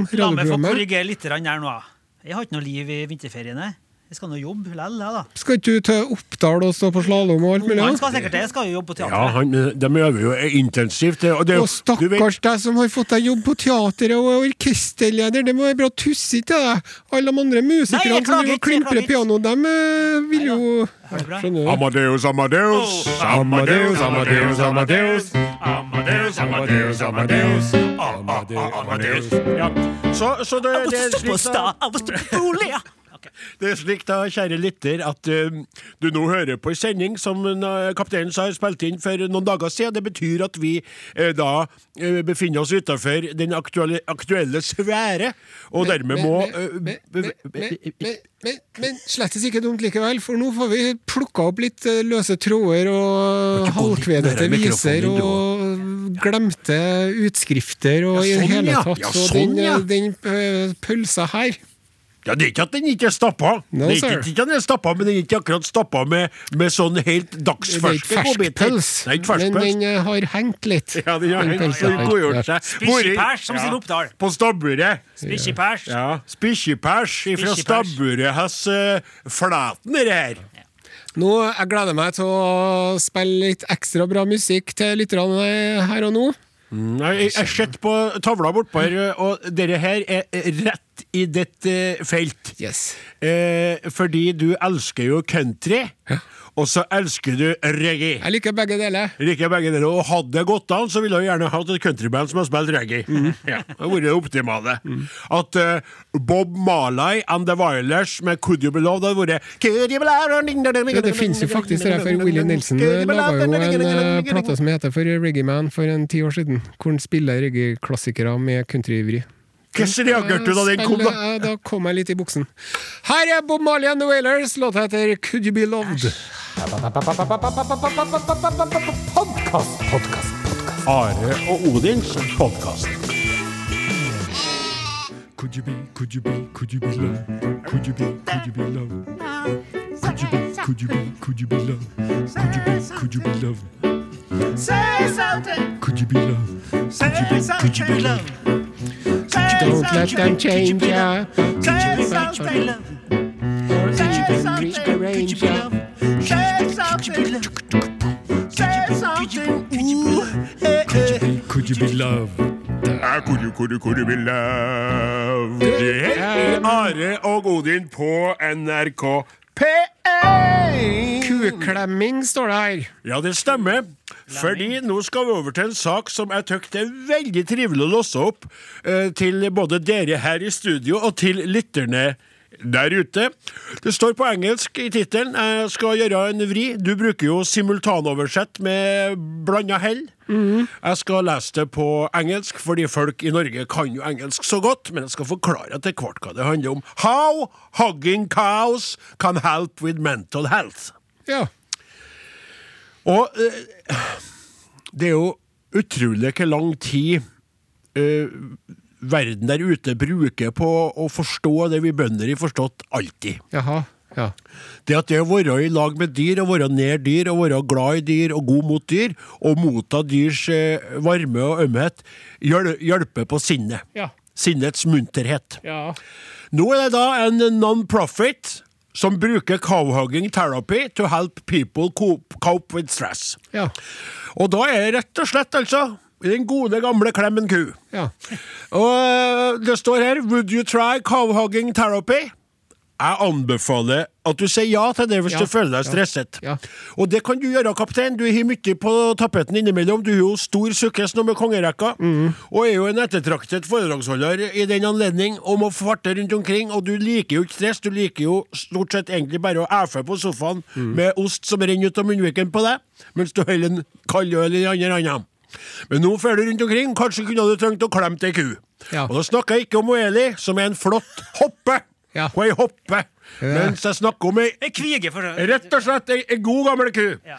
La meg få radioprogrammet. korrigere litt grann her nå. Jeg har ikke noe liv i vinterferien. jeg. Jeg skal nå jobbe lell, jeg, da. Skal ikke du til Oppdal og stå på slalåm og alt mulig? Han da? skal sikkert det. Jeg skal jo jobbe på Ja, teatret. han, de øver jo intensivt. Og det, er jo- Og du vet, stakkars deg som har fått deg jobb på teateret og er orkesterleder, det må være bra tussig til deg. Alle de andre Nei, musikerne jeg klager som driver og ikke, jeg klimprer klager ikke. pianoet, dem eh, vil jo Har det bra. Skjønner du? Amadeus, Amadeus. Amadeus, Amadeus, Amadeus. Amadeus, Amadeus, Amadeus. Amadeus, Amadeus. så, så det, Jeg det var er stå på slik da, sta, jeg var stå på ole. Ok. det er slik da, kjære lytter, at eh, du nå hører på en sending som eh, kapteinen sa spilte inn for noen dager siden. Det betyr at vi eh, da eh, befinner oss utenfor den aktuelle, aktuelle sfære, og dermed må eh, Men, men, be- men, men, men, men slettes ikke dumt likevel, for nå får vi plukka opp litt eh, løse tråder og ikke gå litt halvkvedete nærmere mikrofonen viser din, du og glemte utskrifter og Ja, i det sånn, hele ja. tatt. Ja, Så sånn, den, ja. eh, den eh, pølsa her Ja, Det er ikke at den ikke er stappa, No, det er sir. ikke, ikke at den er stappa, men den er ikke akkurat stappa med, med sånn helt Det er dagsferske ikke fersk godbiter. pøls, Nei, ikke fersk men pøls. den eh, har hengt litt. Ja, den har Den hengt pølsa og her. godgjort seg. Spikkipers, Hvor i- som sier i Oppdal. På stabburet. Spikkipers. Ja. Spikkipers fra Spikkipers. stabburet hans eh, Flaten, er det her. Nå, Jeg gleder meg til å spille litt ekstra bra musikk til lytterne her og nå. Nei, jeg jeg sitter på tavla bortpå her, og dere her er rett i ditt eh, felt. Yes. Eh, fordi du elsker jo country, og så elsker du reggae. Jeg liker begge deler. liker jeg begge deler. Og hadde det gått an, så ville jeg gjerne hatt et countryband som har spilt reggae. Mhm. Ja, det hadde vært det optimale. At eh, Bob Marley and The Violers med Could You Be Loved hadde vært Could you be loved? Ja, det fins jo faktisk det der, for Willie Nelson laga jo en eh, plate som heter for Reggae Man for en ti år siden, hvor han spiller reggae-klassikere med countryivri. Hvordan reagerte du da den kom, da? Spiller- eh, Da kom jeg litt i buksen. Her er Bob Marley and The Wailers. Låta heter Could You Be Loved. Are og Odins podkast. Could you be, could you be, could you be loved? Could you be, could you be loved? Could you be, could you be, could you be loved? Could you be, could you be loved? Say something, Could you be loved? say something, love. Don't let them change ya. Say something, love. Say something, Rearrange ya. say something, love. Say something, ooh, eh, eh. Could you be loved? Ah, could you, could you, could you be loved? Det er Are og Odin på NRK P1! Kuklemming står det her. Ja, det stemmer. Fordi nå skal vi over til en sak som jeg tykker det er veldig trivelig å låse opp eh, til både dere her i studio og til lytterne der ute. Det står på engelsk i tittelen. Jeg skal gjøre en vri. Du bruker jo simultanoversett med blanda hell. Jeg skal lese det på engelsk, fordi folk i Norge kan jo engelsk så godt. Men jeg skal forklare etter hvert hva det handler om. How hugging cows can help with mental health. Ja. Og eh, det er jo utrolig hvor lang tid eh, verden der ute bruker på å forstå det vi bønder har forstått alltid. Jaha. Ja. Det at det å være i lag med dyr, og være nær dyr, og være glad i dyr og god mot dyr, og motta dyrs eh, varme og ømhet, hjel hjelper på sinnet. Ja. Sinnets munterhet. Ja. Nå er det da en non-profit som bruker cowhugging therapy to help people cope, cope with stress. Ja. Og da er det rett og slett, altså, den gode gamle Klemmen Ku. ja. Og øh, det står her 'Would you try cowhugging therapy?' Jeg anbefaler at du sier ja til det hvis Ja, du føler deg ja, stresset. ja. Og det kan du gjøre, kaptein. Du har mye på tapeten innimellom. Du har jo stor sukkes nå med kongerekka, Mm. og er jo en ettertraktet foredragsholder i den anledning og må farte rundt omkring. Og du liker jo ikke stress. Du liker jo stort sett egentlig bare å æfe på sofaen Mm. med ost som renner ut av munnviken på deg, mens du holder en kald øl i den andre hånda. Men nå fer du rundt omkring. Kanskje kunne du trengt å klemme til ei ku. Ja. Og da snakker jeg ikke om Eli, som er en flott hoppe. Ja. Hun er ei hoppe. Mens jeg snakker om ei Jeg kviger for Rett og slett ei, ei god, gammel ku. Ja.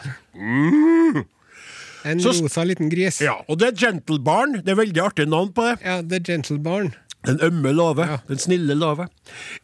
En Så s- rosa liten gris. Og det er Gentle Barn. Det er veldig artig navn på det. Ja, The Gentle Barn. Den ømme låve. Den snille låve.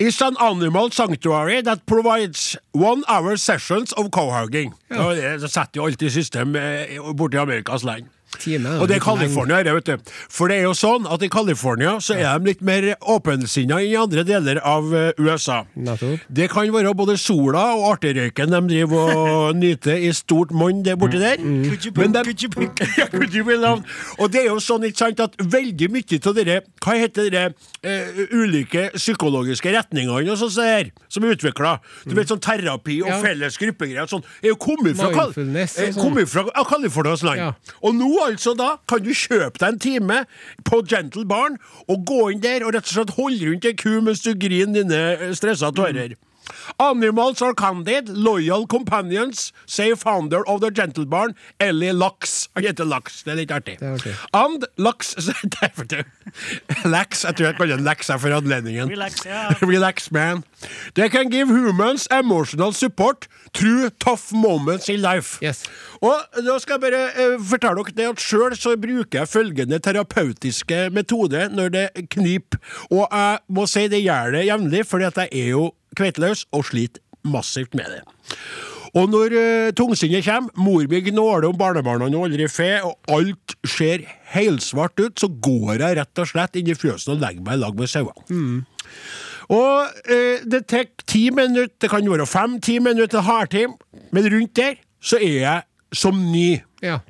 It's an animal sanctuary that provides one hour sessions of cohogging. Og Det det setter jo alltid i system eh, borti Amerikas land. Time, og det er litt lenge. California, det, vet du. For det er jo sånn at i California så er de litt mer åpensinna enn i andre deler av eh, USA. Nettopp. Det kan være både sola og arterøyken de driver og nyter i stort monn der borti der. Mm. Men de- Ja, could you be loved? Og det er jo sånn ikke sant, at veldig mye av dere Hva heter dere eh, ulike psykologiske retningene og sånn som det her, som er utvikla? Du vet sånn terapi og Ja. felles gruppegreier og sånn, er jo kommet fra, Kal- Mindfulness og eh, sånn. kommet fra ja, Californias land. Ja. Og nå altså da kan du kjøpe deg en time på Gentle Barn og gå inn der og rett og slett holde rundt ei ku mens du griner dine eh, Mm. stressa tårer. Animals are candid, loyal companions, say founder of the gentle barn, Ellie Lux. Han heter Lux, det er litt artig. er artig. And Lux Lax, jeg tror jeg kaller den Lax her for anledningen. Relax, ja. Relax, man. They can give humans emotional support through tough moments in life. Yes. Og da skal jeg bare eh, fortelle dere det at sjøl så bruker jeg følgende terapeutiske metode når det kniper. Og jeg må si det gjør det jevnlig, fordi at jeg er jo kveiteløs og sliter massivt med det. Og når eh, tungsinnet kommer, mor mi gnåler om barnebarna og aldri fe, og alt ser helsvart ut, så går jeg rett og slett inn i fjøsen og legger meg i lag med sauene. Og eh, det tar ti minutter, det kan være fem-ti minutter, en halvtime, men rundt der så er jeg som ny. Ja.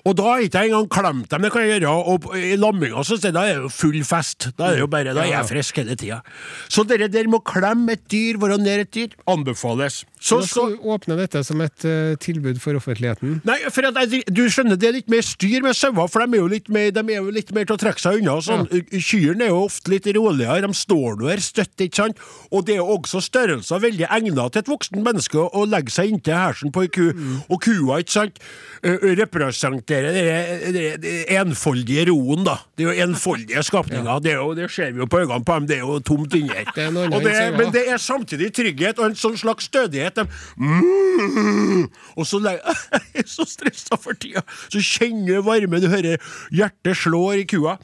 Og da har ikke jeg engang klemt dem, det kan jeg gjøre. Og på- i lamminga så sier jeg, da er det jo full fest. Da er det jo bare, da er jeg frisk hele tida. Så dere der med å klemme et dyr, være nær et dyr, anbefales. Så, Da så skal du åpne dette som et eh, tilbud for offentligheten. Nei, for at jeg, du skjønner, det er litt mer styr med sauer, for de er jo litt mer, de er jo litt mer til å trekke seg unna. og Sånn. Kyrne er jo ofte litt roligere, de står nå her støtt, ikke sant? Og det er jo også størrelser veldig egnet til et voksen menneske å, å legge seg inntil hersen på ei ku. Mm. Og kua, ikke sant, ø- ø, representerer det- det- det enfoldige roen, da. Det er jo enfoldige skapninger. Det, er jo, det ser vi jo på øynene på dem, det er jo tomt inni her. Det er noe annet Og det enn er- sauer, Men da. det er samtidig trygghet og en sånn slags stødighet. De, mm, og så legger Jeg er så stressa for tida! Så kjenner du varmen, du hører hjertet slår i kua.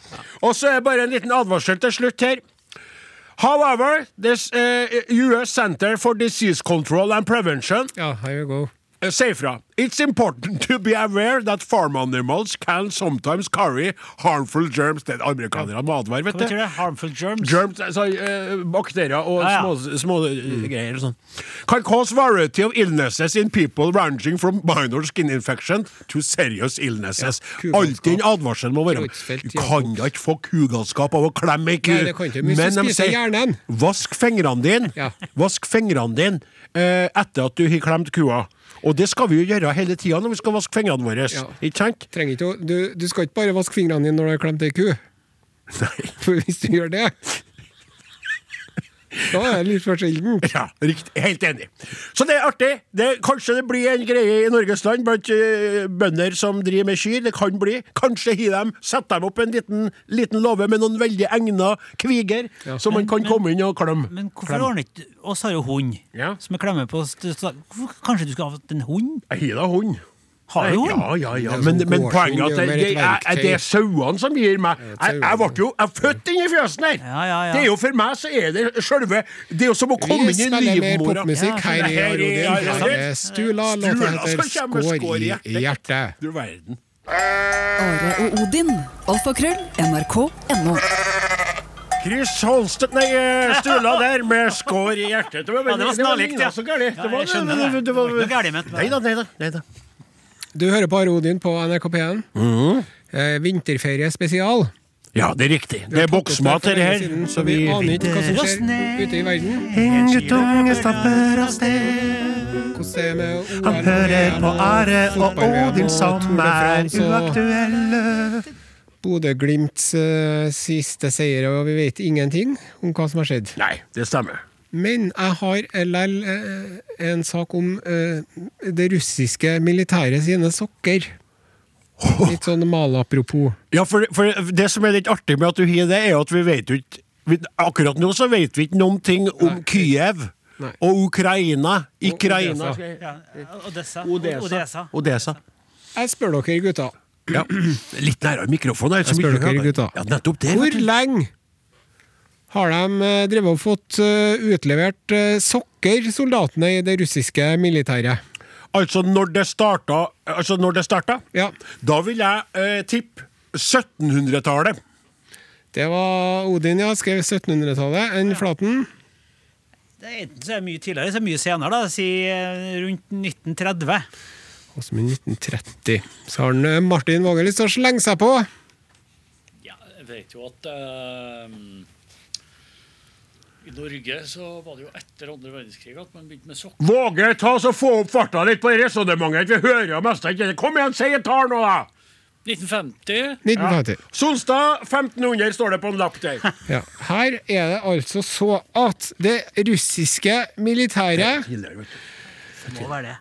Og så er det bare en liten advarsel til slutt her. However, this eh, US Center for Disease Control and Prevention Ja, here you go. eh, sier fra It's important to be aware that farm animals can sometimes carry harmful germs. Det er amerikanerne må advare, vet Hva du. betyr det? Harmful germs? Germs, altså eh, bakterier og Ja, ja. små, små eh, greier og sånn. Can cause variety of illnesses in people ranging from minor skin infection to serious illnesses. Ja, kugalskap. Alltid en advarsel må være. Kreutzfeldt, Du Jakob. kan da ikke få kugalskap av å klemme ei ku. Nei, det kan ikke. Men hvis du spiser hjernen. vask fingrene dine Ja. Vask fingrene dine eh, etter at du har klemt kua. Og det skal vi jo gjøre hele tida når vi skal vaske fingrene våre. Ja. Ikke sant? Trenger ikke å, du, du skal ikke bare vaske fingrene dine når du har klemt ei ku. Nei. For hvis du gjør det Da er det litt for sjelden. Ja, riktig. Helt enig. Så det er artig. Det, kanskje det blir en greie i Norges land blant eh, bønder som driver med kyr. Det kan bli. Kanskje hi dem, sett dem opp en liten, liten låve med noen veldig egna kviger, som man kan komme inn og klemme. Men hvorfor ordner ikke oss har jo hund, Ja. som jeg klemmer på st- st- hvorfor- Kanskje du skulle hatt en hund? Jeg Hi da hund. Har du hund? Ja, ja, ja. Det er Men, sånn men gårdsting, poenget er det at er det, jo mer det, et er, er det er sauene som gir meg Jeg, sauene. jeg ble jo jeg er født inn i fjøsen her! Ja, ja, ja. Det er jo for meg så er det sjølve Det er jo som å Vi komme inn i spiller mer livmora. popmusikk Ja, her i her i- ja, Arodin. ja, Her ja. er Stula, låta Stula, heter så kommer skår i Skår hjertet. i hjertet. Du verden. Are og Odin. Alfakrøll. NRK.no. Chris Holstedt, nei, eh, Stula der med skår i hjertet. Det var, Ja, det var snarlikt, lignet ja. så gærlig. Det Ja, var- jeg skjønner det. det var- Det var ikke noe gærlig ment, men- Neida, neida, neida. Du hører på Arodin på NRK P1. Mm. Eh, vinterferie spesial. Ja, det er riktig. Det er boksmat, For det lenge her. siden, Så Så vi aner vi ikke hva som skjer ute i verden. En guttunge stapper av sted. Hvordan det er med OL. Han hører på Are og Odin som er uaktuelle. uaktuelle. Bodø-Glimts eh, siste seier, og vi vet ingenting om hva som har skjedd. Nei, det stemmer. Men jeg har likevel eh, en sak om eh, det russiske militæret sine sokker. Litt sånn malapropos. Ja, for, for det som er litt artig med at du har det, er jo at vi vet jo ikke vi, Akkurat nå så vet vi ikke noen ting om Kyiv Nei. og Ukraina. Ukraina. Odessa. skal jeg- Ja, Odessa. Odessa. Odessa. Odessa. Jeg spør dere, gutta. Ja. Litt nærmere mikrofonen. her, så Jeg spør mye dere, hører. gutta. Ja, nettopp det. Hvor vet du. lenge har de eh, drevet og fått eh, utlevert eh, sokker, soldatene i det russiske militæret? Altså, når det starta, altså når det starta Ja, da vil jeg eh, tippe 1700-tallet. det var Odin, ja. Skrev 1700-tallet. Enn Flaten? Det er enten så er det mye tidligere, så er det mye senere, da. Si eh, rundt 1930. Også med 1930. Så har den, eh, Martin Våge lyst til å slenge seg på. Ja, jeg vet jo at eh, i Norge så var det jo etter andre verdenskrig at man begynte med sokker. Våge ta så få opp farta litt på resonnementet. Vi hører jo mest ikke. Kom igjen, si et tall nå, da! 1950. 1950. Sonstad 1500 står det på en lapp der. Ja. Her er det altså så at det russiske militæret Tidligere, vet du. Det må være det.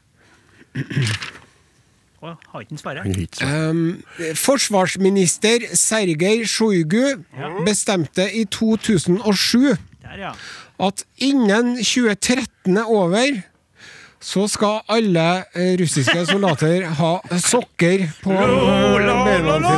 Å, har ikke han svaret? Han hit, så. Um, forsvarsminister Sergej Sjojgu bestemte i 2007 Der, ja. at innen 2013 er over, så skal alle eh, russiske soldater ha sokker på beina sine.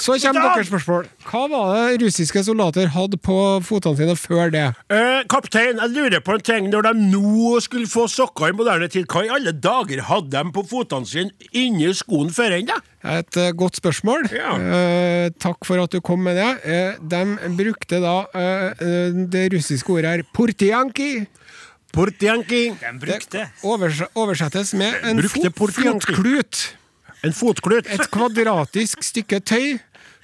Så kommer deres spørsmål. Hva var det russiske soldater hadde på fotene sine før det? Eh, kaptein, jeg lurer på en ting. Når de nå skulle få sokker i moderne tid, hva i alle dager hadde de på fotene sine inni skoen før enn da? Et eh, godt spørsmål. Ja. Eh, takk for at du kom med det. Eh, de brukte da eh, eh, det russiske ordet her portianki. Portjanki. De brukte. Overs oversettes med en Brukte fot portianki. fotklut. En fotklut. Et kvadratisk stykke tøy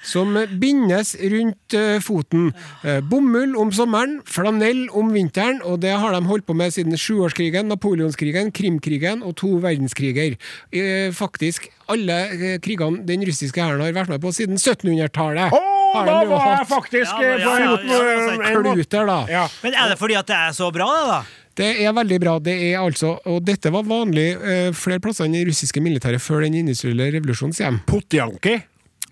som bindes rundt eh, foten. Eh, Bomull om sommeren, flanell om vinteren, og det har de holdt på med siden sjuårskrigen, napoleonskrigen, krimkrigen og to verdenskriger. Eh, Faktisk alle eh, krigene den russiske hæren har vært med på siden 1700-tallet. Å, har de da jo var jeg hatt faktisk Ja, eh, ja, ja, foten, ja, ja, eh, ja. en måte- Kluter, da. Ja. Men er det fordi at det er så bra, det, da? Det er veldig bra. Det er altså, og dette var vanlig eh, flere plasser enn det russiske militæret før den industrielle revolusjonen, sier de. Portjanki.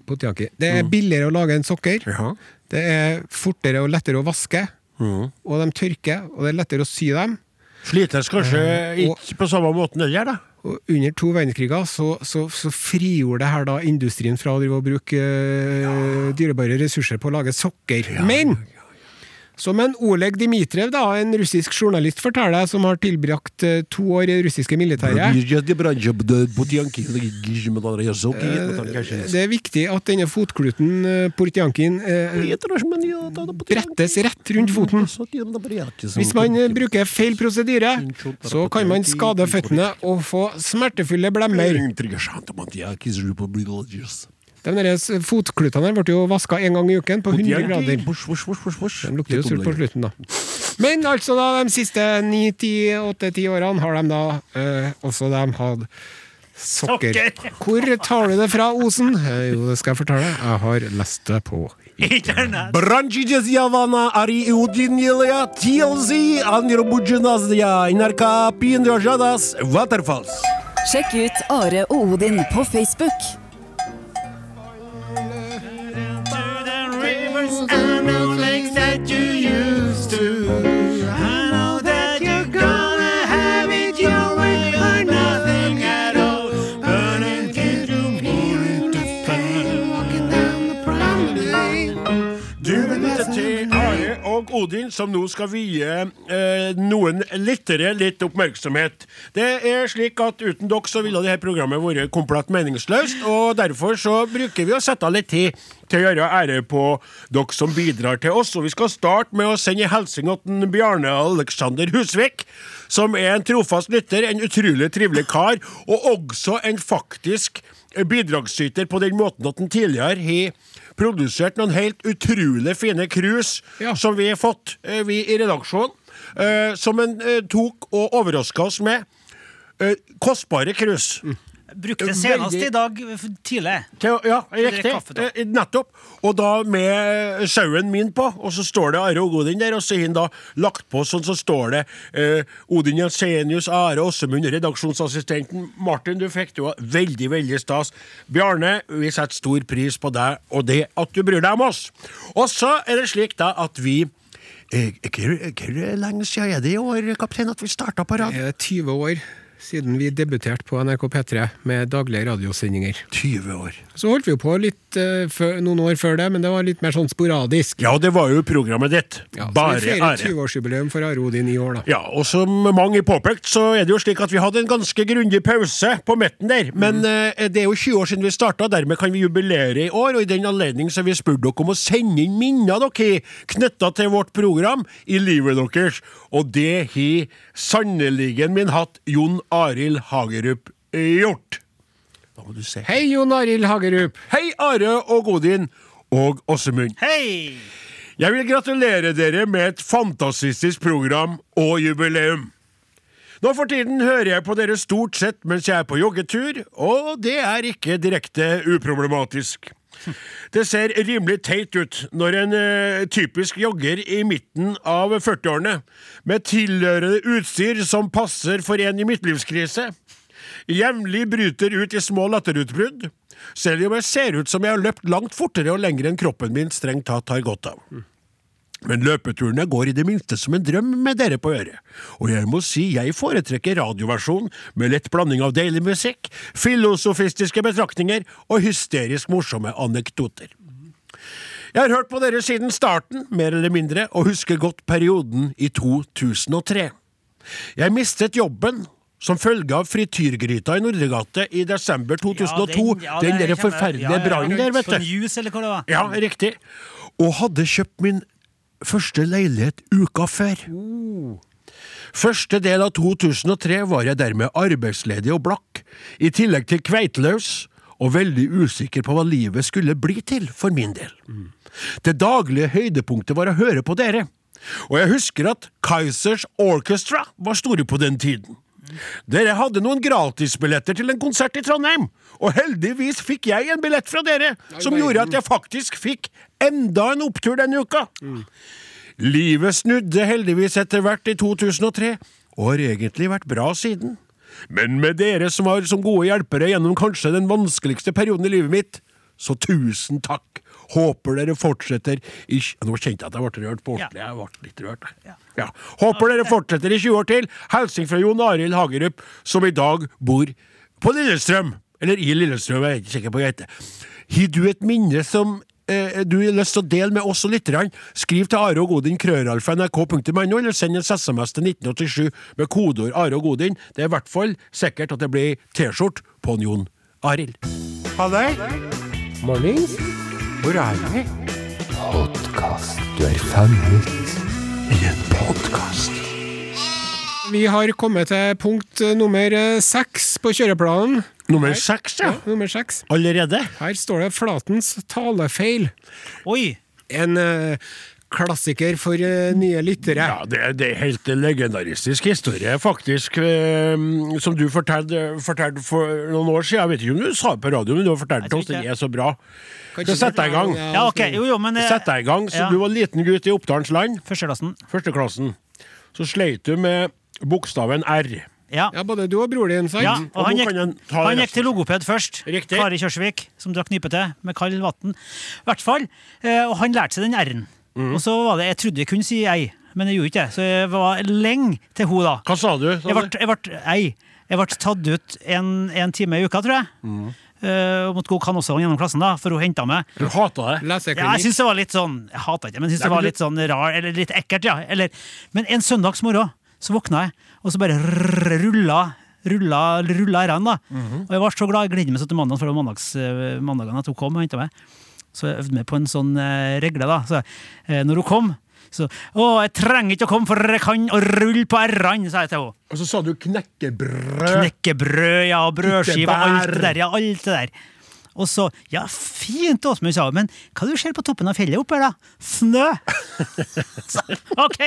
Potjaki. Det er billigere å lage en sokker. Ja. Det er fortere og lettere å vaske. Og de tørker, og det er lettere å sy dem. Slites kanskje og- ikke på samme måten heller, da. Og under to verdenskriger så, så, så frigjorde det her da industrien fra å drive og bruke eh, dyrebare ressurser på å lage sokker. Men som en Oleg Dimitrev, da, en russisk journalist, forteller, som har tilbrakt eh, to år i det russiske militæret Eh, Det er viktig at denne fotkluten, eh, portjankien, eh, brettes rett Mm, rundt foten. Hvis man eh, bruker feil prosedyre, så kan man skade føttene og få smertefulle blemmer. De der s- fotklutene ble jo vaska én gang i uken på 100 grader. De lukter jo sult på slutten, da. Men altså, da, de siste 9-10-8-10 årene har de da eh, også de hatt sokker. Hvor tar du det fra, Osen? Eh, jo, det skal jeg fortelle. Jeg har lest det på Internett. Бранчите з'явана ари иудинилия TLZ анирбуджиназдия инарка пиндрожадас Waterfalls. Sjekk ut Are og Odin på Facebook. Du lytter til Are og Odin, som nå skal vie eh, noen lyttere litt oppmerksomhet. Det er slik at Uten dere så ville dette programmet vært komplett meningsløst. og Derfor så bruker vi å sette av litt tid til å gjøre ære på dere som bidrar til oss. Og Vi skal starte med å sende en hilsen til en Bjarne Alexander Husvik, som er en trofast lytter, en utrolig trivelig kar, og også en faktisk bidragsyter på den måten at han tidligere har produsert noen helt utrolig fine krus Ja. som vi har fått, eh, vi i redaksjonen, eh, som han eh, tok og overraska oss med. Eh, kostbare krus. Brukte senest Veldig- i dag f- tidlig. Til, ja, drikke riktig. kaffe, da. Eh, Nettopp. Og da med sauen min på, og så står det Are og Odin der, og så har han da lagt på sånn, så står det eh, Odin Jensenius, Are Åsemund, redaksjonsassistenten. Martin, du fikk det jo veldig, veldig stas. Bjarne, vi setter stor pris på deg og det at du bryr deg om oss. Og så er det slik da at vi eh, Hvor hvor lenge siden er det i år, kaptein, at vi starta på rad? Er det 20 eh, år siden vi debuterte på NRK P3 med daglige radiosendinger? 20 år. Så holdt vi jo på litt, eh, før, noen år før det, men det var litt mer sånn sporadisk. Ja, det var jo programmet ditt. Ja, så vi Bare feirer Are. 20-årsjubileum for Are Odin i år, da. Ja, og som mange påpekt, så er det jo slik at vi hadde en ganske grundig pause på midten der. Men eh, det er jo 20 år siden vi starta, dermed kan vi jubilere i år. Og i den anledning så har vi spurt dere om å sende inn minner dere knytta til vårt program i livet deres. Og det har sannelig min hatt Jon Arild Hagerup gjort. Da må du se. Hei, Jon Arild Hagerup! Hei, Are og Odin og Åsemund. Hei! Jeg vil gratulere dere med et fantastisk program og jubileum. Nå for tiden hører jeg på dere stort sett mens jeg er på joggetur, og det er ikke direkte uproblematisk. Det ser rimelig teit ut når en eh, typisk jogger i midten av 40-årene, med tilhørende utstyr som passer for en i midtlivskrise, jevnlig bryter ut i små latterutbrudd, selv om jeg ser ut som jeg har løpt langt fortere og lenger enn kroppen min strengt tatt har godt av. Men løpeturene går i det minste som en drøm med dere på øret. Og jeg må si jeg foretrekker radioversjon med lett blanding av deilig musikk, filosofistiske betraktninger og hysterisk morsomme anekdoter. Jeg har hørt på dere siden starten, mer eller mindre, og husker godt perioden i 2003. Jeg mistet jobben som følge av frityrgryta i Nordregate i desember 2002. den, ja, det der kjenner jeg. forferdelige Ja, ja, ja. brannen der, vet du. Sånn juice, eller hva det var. Ja, riktig. Og hadde kjøpt min første leilighet uka før. Første del av 2003 var jeg dermed arbeidsledig og blakk, i tillegg til kveiteløs, og veldig usikker på hva livet skulle bli til, for min del. Det daglige høydepunktet var å høre på dere, og jeg husker at Kaizers Orchestra var store på den tiden. Dere hadde noen gratisbilletter til en konsert i Trondheim, og heldigvis fikk jeg en billett fra dere, som gjorde at jeg faktisk fikk enda en opptur denne uka. Livet snudde heldigvis etter hvert i 2003, og har egentlig vært bra siden. Men med dere som var som gode hjelpere gjennom kanskje den vanskeligste perioden i livet mitt, så tusen takk. Håper dere fortsetter i tj- Nå kjente jeg at jeg ble rørt på ordentlig. Jeg ble litt rørt. jeg. Ja. Håper dere fortsetter i 20 år til. Hilsen fra Jon Arild Hagerup, som i dag bor på Lillestrøm. Eller i Lillestrøm, jeg er ikke sikker på hva det heter. Har du et minne som eh, du har lyst til å dele med oss og lytterne, skriv til Are og Godin krøralfa nrk.no, eller send en SMS til 1987 med kodeord Are og Godin. Det er i hvert fall sikkert at det blir T-skjorte på en Jon Arild. Halløy! Mornings. Hvor er vi? Vi har kommet til punkt eh, nummer eh, seks på kjøreplanen. Nummer seks, ja. Nummer seks. Allerede? Her står det 'Flatens talefeil'. Oi! En eh, klassiker for eh, nye lyttere. Ja, det, er- det er helt legendaristisk historie, faktisk, eh, som du fortalte fortalte for noen år siden. Jeg vet ikke om du sa det på radio, men du har fortalt Jeg tror oss den ikke. er så bra. Kan Så sett deg i gang. Ja, Ja, ok, jo, jo, men eh, Sett deg i gang, så ja. du var liten gutt i Oppdalens land. Førsteklassen. førsteklassen, så sleit du med bokstaven R. Ja. Ja, både du og bror din, sant? Ja, Og og han nå gikk, kan han ta han gikk resten. til logoped først. Riktig. Kari Kjørsvik, som drakk nypete med kaldt vann. hvert fall. eh, Og han lærte seg den R-en. Mhm. Og så var det Jeg trodde jeg kunne si ei, men jeg gjorde ikke det. Så jeg var lenge til hun da. Hva sa du? Sa Jeg du? ble, jeg ble, ei, jeg ble tatt ut en, en time i uka, tror jeg. Mhm. Eh, og måtte gå kanossalong gjennom klassen, da, for hun henta meg. Du hata det. Ja, jeg Leseklinikk. syns det var litt sånn Jeg hater ikke, men jeg synes Nei, det var men litt sånn rar, eller litt ekkelt, ja. Eller, men en søndagsmorgen så våkna jeg, og så bare rrrr, rulla rulla, rulla r da. Og jeg var så glad. Jeg gledet meg sånn til mandagen, for det var mandags, eh, mandagen at hun kom og henta meg. Så jeg øvde meg på en sånn eh, regle, da. Så, eh, når hun kom, så Å, jeg trenger ikke å komme, for jeg kan å rulle på r-ene, sa jeg til henne. Og så sa du knekkebrød. Knekkebrød, ja, og brødskive og alt det der. Ja, alt det der. Og så Ja, fint, Åsmund sa, men hva du ser på toppen av fjellet oppe her, da? Snø! Så, OK,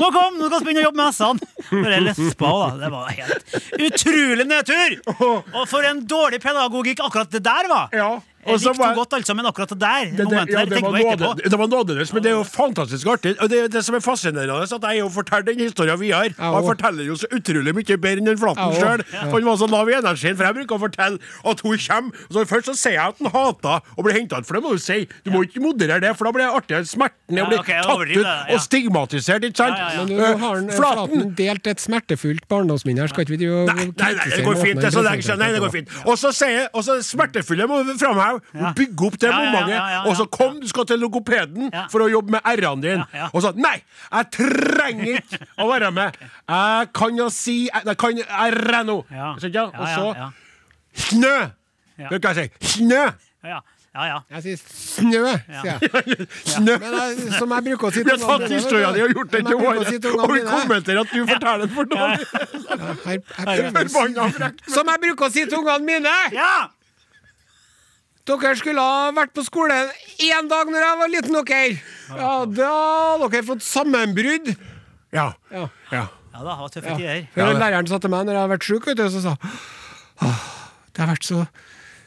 nå kom, nå skal vi begynne å jobbe med hestene! Bare lespa da. Det var helt utrolig nedtur! Og for en dårlig pedagogikk akkurat det der var! Ja, og Jeg så likte var- henne godt, altså, men akkurat det der Det, det, momentet ja, der det, var tenker jeg etterpå. nåde, det var nådeløst, men det er jo fantastisk artig. Og det, er det som er fascinerende, er at jeg jo forteller den historien videre. Ja, Og jeg og- forteller jo så utrolig mye bedre enn den Flaten Ja, og- sjøl. Han var så lav i energien, for jeg bruker å fortelle at hun kommer. Og så først så sier jeg at han hater å bli henta ut, for det må du si. Du må ikke moderere det, for da blir det artig. Smerten er å Ja, bli ok, jeg tatt ut overdriver det, ja. og stigmatisert, ikke sant? Ja, ja, ja. Men nå nå har Eh, han, Flaten Flaten delt et smertefullt barndomsminne her. Skal ikke vi drive og Nei, nei, nei, det går fint. Det er så lenge siden. Nei, det går fint. Og så sier jeg, og så smertefulle må vi framheve. Ja. Bygge opp det Ja, ja, ja, momentet. ja, ja, ja. Og så kom du skal til logopeden Ja. for å jobbe med r-ene dine. Ja, ja. Og så Nei! Jeg trenger ikke å være med. Jeg kan jo si Jeg kan r nå. Ja. Skjønte jeg? Og Ja, ja, ja. så snø! Ja. Hva kan jeg si? Snø! Ja, ja, ja. Jeg sier snø, sier jeg. Snø! Men jeg, som jeg bruker å si Vi har tatt vet historia du. di og gjort den Som til jeg vår, bruker å si til og vi ungene mine. kommenterer at du forteller den for dårlig. Her- her prøver jeg å Forbanna frekk. si- Som jeg bruker å si til ungene mine! ja. Dere skulle ha vært på skolen én dag når jeg var liten, dere! Ja, da hadde dere fått sammenbrudd. Ja. Ja. ja. Ja da, det var tøffe tider. Før læreren sa til meg når jeg har vært sjuk, vet du, så sa han Det har vært så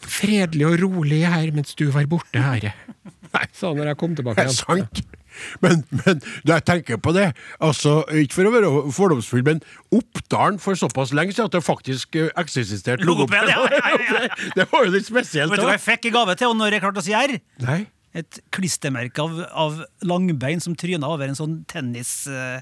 fredelig og rolig her mens du var borte, herre. Nei, sa han når jeg kom tilbake Det er igjen. sant. Men, men når jeg tenker på det, altså, ikke for å være fordomsfull, men Oppdalen for såpass lenge siden at det faktisk eh, eksisterte Logoped, logoped. ja, ja, ja, ja. Det var jo litt spesielt. Vet du da. hva jeg fikk i gave til, og når jeg klarte å si R? Nei. Et klistremerke av, av langbein som tryna over en sånn tennis... eh,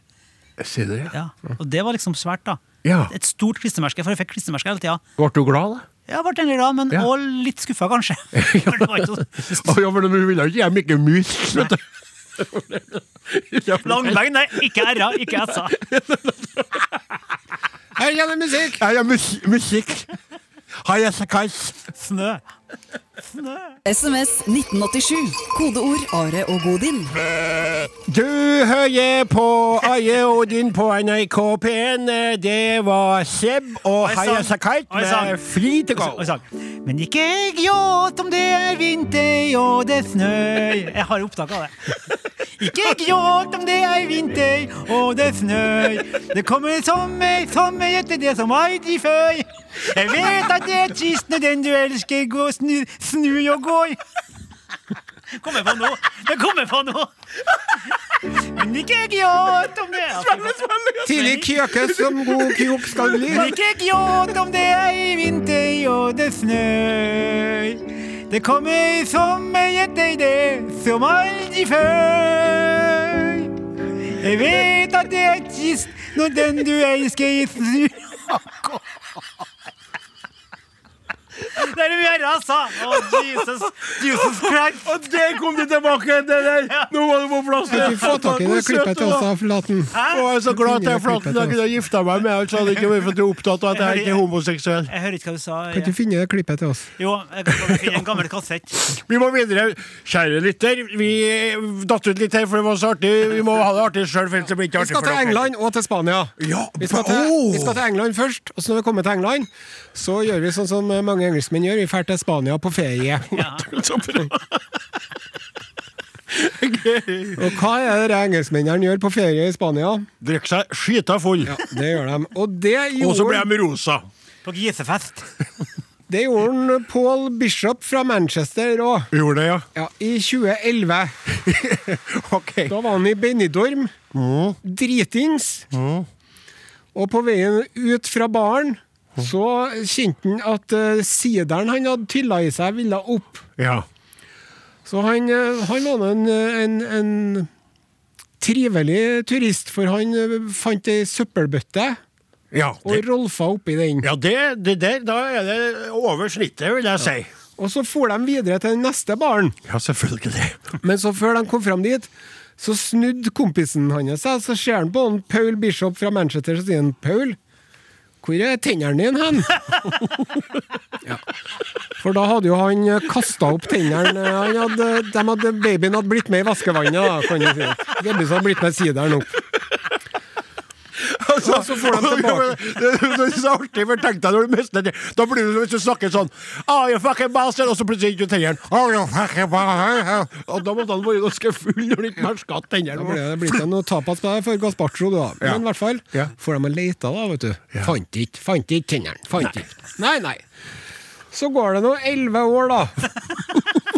Si det, ja. ja. Og det var liksom svært, da. Mm. Ja. Et stort klistremerke, for jeg fikk klistremerke hele tida. Ble du glad, da? Jeg ble egentlig glad, men Ja. også litt skuffa, kanskje. For det var ikke sånn- så- Å, ja, men du ville jo ikke hjem ikke mus, vet du. Ja, men- Langbein, nei, ikke R-a, ikke S-a. Her kommer musikk! Ja, ja, mus musikk. Hei, jeg er Kais. Snø. SMS 1987. Kodeord Are og Odin. Du hører på Aje Odin på NRK P1. Det var Seb og Oi, sann. Haya Sakait Oi, sann. med Free to Og go. sang. Men ikke gråt om det er vinter og det snør Jeg har opptak av det. Ikke gråt om det er vinter og det snør. Det kommer sommer, sommer etter det som aldri før. Jeg vet at det er trist når den du elsker, går snu, snur og går. Kommer på nå. Det kommer på nå. Men ikke gråt om det Tidlig kjøkes som god kjok skal bli. men ikke gråt om det er i vinter og det snør. Det kommer sommer etter det som aldri før. Jeg vet at det er trist når den du elsker, snur Det er det vi gjør, altså. Å, Jesus, Jesus Christ. Og det kom du tilbake til der! Nå var du på plass! Kan ikke få tak i det klippet til oss, da, Flaten. Og jeg er så glad at jeg er flatt. Jeg kunne gifta meg med ham, så hadde jeg ikke vært for opptatt av at jeg ikke er homoseksuell. Jeg hører ikke hva du sa. Kan ikke finne det klippet til oss. Jo, jeg kan finne en gammel kassett. Vi må videre. Kjære lytter, vi eh, datt ut litt her, for det var så artig. Vi må ha det artig sjøl, for ellers blir det ikke Vi artig skal for til dere. England og til Spania. Ja, Vi skal til, Oh! vi skal til England først, og så når vi kommer til England, så gjør vi sånn som mange engelskmenn gjør, vi drar til Spania på ferie. Så bra. Og hva er det de engelskmennene gjør på ferie i Spania? Drikker seg skita full. Det gjør de. Og det Og så gjorde, blir de rosa. På grisefest. det gjorde han Paul Bishop fra Manchester òg. Gjorde det, ja. Ja, I 2011. Ok. Da var han i Benidorm. Mm. Dritings. Og på veien ut fra baren så kjente han at eh, sideren han hadde tylla i seg, ville opp. Ja. Så han, eh, han var nå en, en, en trivelig turist, for han eh, fant ei søppelbøtte Ja, det, og rolfa oppi den. ja det, det der, da er det over snittet, vil jeg si. Og så for de videre til den neste baren. Ja, selvfølgelig. Men så før de kom fram dit, så snudde kompisen hans seg, så ser han på han Paul Bishop fra Manchester, så sier han Paul, hvor er tennene dine hen? ja. For da hadde jo han kasta opp tennene. eh, Han hadde, de hadde, babyen hadde blitt med i vaskevannet, da, kan du si. Babyen hadde blitt med sideren opp. Og og så får de tilbake. det, det er så artig, for tenk deg når du mister det. Da blir du, hvis du snakker sånn Are you fucking bastard? Og så plutselig ikke tennene. Are you fucking bastard? Og da måtte han være ganske full når han ikke merka at Da ble tennene det blitt noe tapas på deg for gazpacho, du, da. Ja. Men i hvert fall Ja. får de og leita, da, vet du. Fant ikke fant ikke tennene. Fant ikke. Nei, nei. Så går det nå elleve år, da.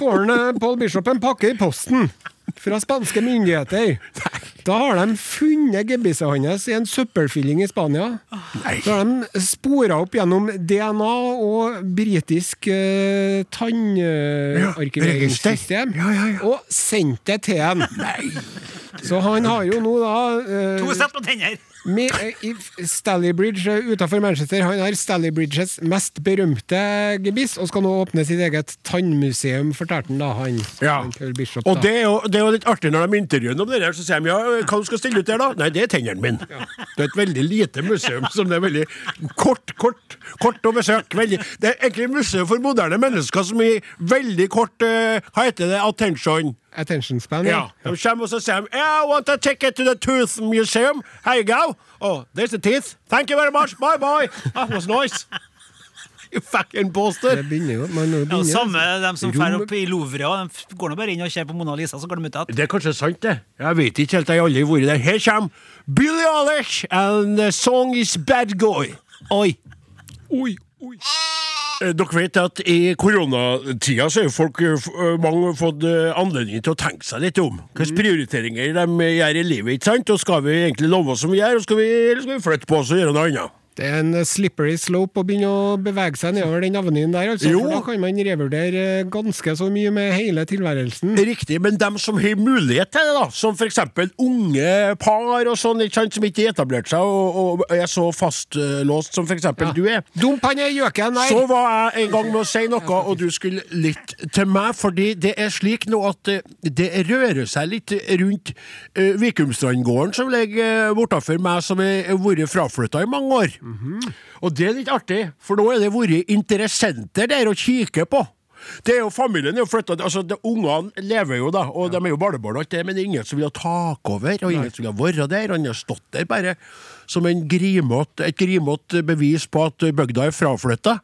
Får han, eh, Paul Bishop en pakke i posten fra spanske myndigheter. Da har de funnet gebisset hans i en søppelfylling i Spania. Da har de spora opp gjennom DNA og britisk eh, tandarkiveringssystem register. Ja, ja, ja. og sendt det til han. Så han har jo nå da eh, To sett på tenner! med, eh, i Stalybridge uh, utenfor Manchester. Han har Stalybridges mest berømte gebiss, og skal nå åpne sitt eget tannmuseum, fortalte han da, han, Ja. han Paul Bishop. Og da. det er, jo, det er jo litt artig når de intervjuer om det der, så sier de ja, hva du skal stille ut der, da? Nei, det er tennene mine. Det er et veldig lite museum som det er veldig kort, kort, kort å besøke. Veldig, det er egentlig et museum for moderne mennesker som i veldig kort eh, Hva heter det? Attention. Attention span. Ja. De kommer og så sier de, yeah, I want to take it to the tooth museum. Here you go. Oh, there's the teeth. Thank you very much. Bye bye. That was nice. You fucking Det poster. begynner jo man må jo Ja, begynne, samme altså. de som drar Rom- opp i Louvre, og de f- går nå bare inn og ser på Mona Lisa, så går de ut igjen. Det er kanskje sant, det. Jeg vet ikke helt. Jeg har aldri vært der. Her kommer Billy Eilish and the song is Bad Guy. Oi. Oi. Oi. Eh, Dere vet at I koronatida så er jo folk eh, f- eh, mange fått eh, anledning til å tenke seg litt om. Hvilke prioriteringer de eh, gjør i livet. ikke sant? Og Skal vi egentlig love som vi gjør, og skal vi, eller skal vi flytte på oss og gjøre noe annet? Det er en eh, slippery slope å begynne å bevege seg nedover den avenyen der, altså. Jo. For da kan man revurdere eh, ganske så mye med hele tilværelsen. Riktig, men dem som har mulighet til det, da, som f.eks. unge par og sånn, ikke sant, som ikke har etablert seg og, og er så fastlåst som f.eks. eksempel du er, Dump han i gjøken der! så var jeg en gang med å si noe, og du skulle litt til meg, fordi det er slik nå at eh, det rører seg litt rundt eh, Vikumstrandgården, som ligger eh, bortafor meg, som har vært fraflytta i mange år. Og det er litt artig, for nå er det vært interessenter der å kikke på. Det er jo Familien er jo flytta altså, det- Ungene lever jo, da, og de er jo barnebarn, og alt det, men det er ingen som vil ha tak over, og ingen som vil være der. Han har stått der bare som en grimott, et grimete bevis på at bygda er fraflytta.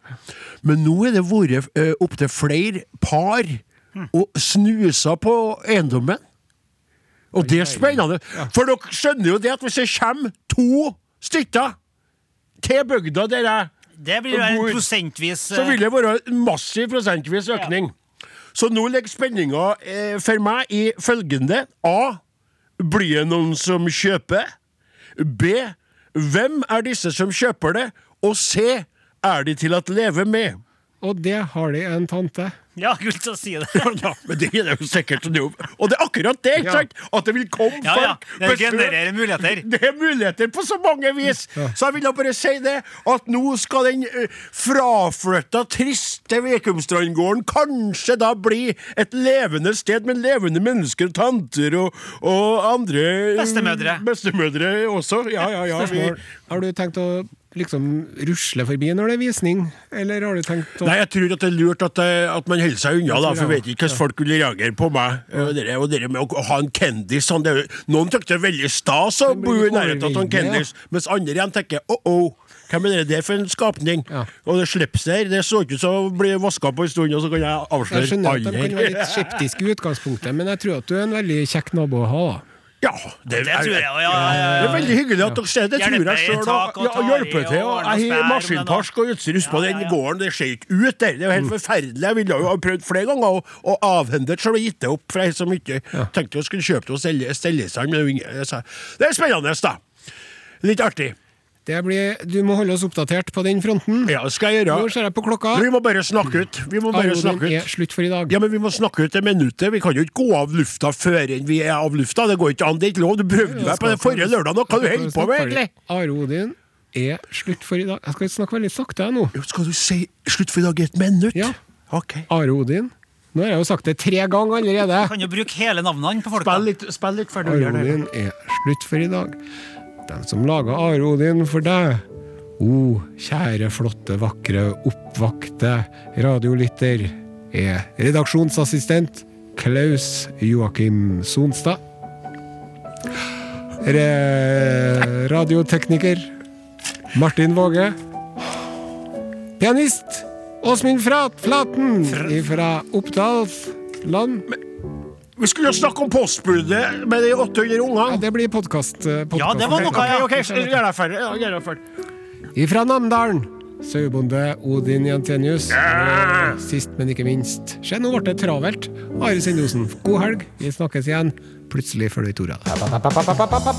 Men nå er det vært eh, opptil flere par og snusa på eiendommen. Og det er spennende. For dere skjønner jo det at hvis det kommer to stykker til bygda der jeg Det blir jo en Hvor- prosentvis så eh, vil det være en massiv prosentvis økning. Så nå ligger spenninga eh, for meg i følgende. A. Blir det noen som kjøper? B. Hvem er disse som kjøper det? Og C. Er de til at leve med? Og det har de en tante. eh, Ja, kult å si det. Ja, men det er jo sikkert det er jo- Og det er akkurat det, ikke Ja. sant? At det vil komme Ja, ja. folk Det besøk. genererer muligheter. Det er muligheter på så mange vis! Så jeg vil da bare si det, at nå skal den eh, fraflytta, triste Vekumstrandgården kanskje da bli et levende sted med levende mennesker, tanter og, og andre Bestemødre. Bestemødre også. Ja, ja, ja. Vi, Spørsmål. Har du tenkt å liksom rusle forbi når det er visning, eller har du tenkt å Nei, jeg tror at det er lurt at, eh, at man holder seg unna, da, for jeg vet ikke hvordan folk vil reagere på meg. Eh, Det der- og det der med å å ha en kendis sånn, det er jo- Noen tykker det er veldig stas å blir bo i litt nærheten av en overveldende, kendis, mens andre igjen tenker å-å, hvem er det der for en skapning? Ja. Og det slipset her, det så ikke ut som å bli vaska på en stund, og så kan jeg Jeg avsløre skjønner at de alle kan være her. litt skeptiske i utgangspunktet, men jeg tror at du er en veldig kjekk nabo å ha. da. Ja, det, Det tror jeg, ja, ja, ja, Det er veldig hyggelig at dere ser det. tror Hjelper jeg i selv, tak og og ja, tar i hjelper og til. og ordner Jeg spær om har det maskinpark og utstyr på Ja, den ja, ja. gården. Det ser ikke ut der. Det er jo helt forferdelig. Jeg ville jo ha prøvd flere ganger å, å avhende det, så jeg gitt det opp. For jeg som ikke tenkte jeg skulle kjøpe det og stelle, stelle seg, men det er jo ingen- jeg sa, det er spennende, da. Litt artig. Det blir, du må holde oss oppdatert på den fronten. Ja, det skal jeg Nå gjøre. ser jeg på klokka. Vi må bare snakke ut. Vi må bare snakke Aroden ut. er slutt for i dag. Ja, men Vi må snakke ut det minuttet. Vi kan jo ikke gå av lufta før enn vi er av lufta. Det går ikke an. Det er ikke lov. Du prøvde meg på det forrige lørdag. Hva holder du holder på med, egentlig? Aroden er slutt for i dag. Jeg skal ikke snakke veldig sakte jeg nå. Jo, Skal du si slutt for i dag i et minutt? Ja. Ok. Aroden. Nå har jeg jo sagt det tre ganger allerede. Kan jo bruke hele navnene på folk. da. Spill litt, spill litt ferdig. gjerne. Arodin er slutt for i dag. Dem som laga Arodin for deg. O, kjære, flotte, vakre, oppvakte radiolytter, er redaksjonsassistent Klaus Joakim Sonstad. Her er radiotekniker Martin Våge. Pianist Åsmund Frat Flaten fra Oppdalsland. Vi skulle jo snakke om postbudet med de 800 Ja, ungene. det blir eh, podkast. Ja, det var noe, ja. ok, så gjør deg ferdig. Ja, gjør deg ferdig. Ifra Namdalen. Sauebonde Odin Jantenius. Og eh, Sist, men ikke minst. Se, nå ble det travelt. Are Sendosen, god helg. Vi snakkes igjen. Plutselig før du vet ordet av det.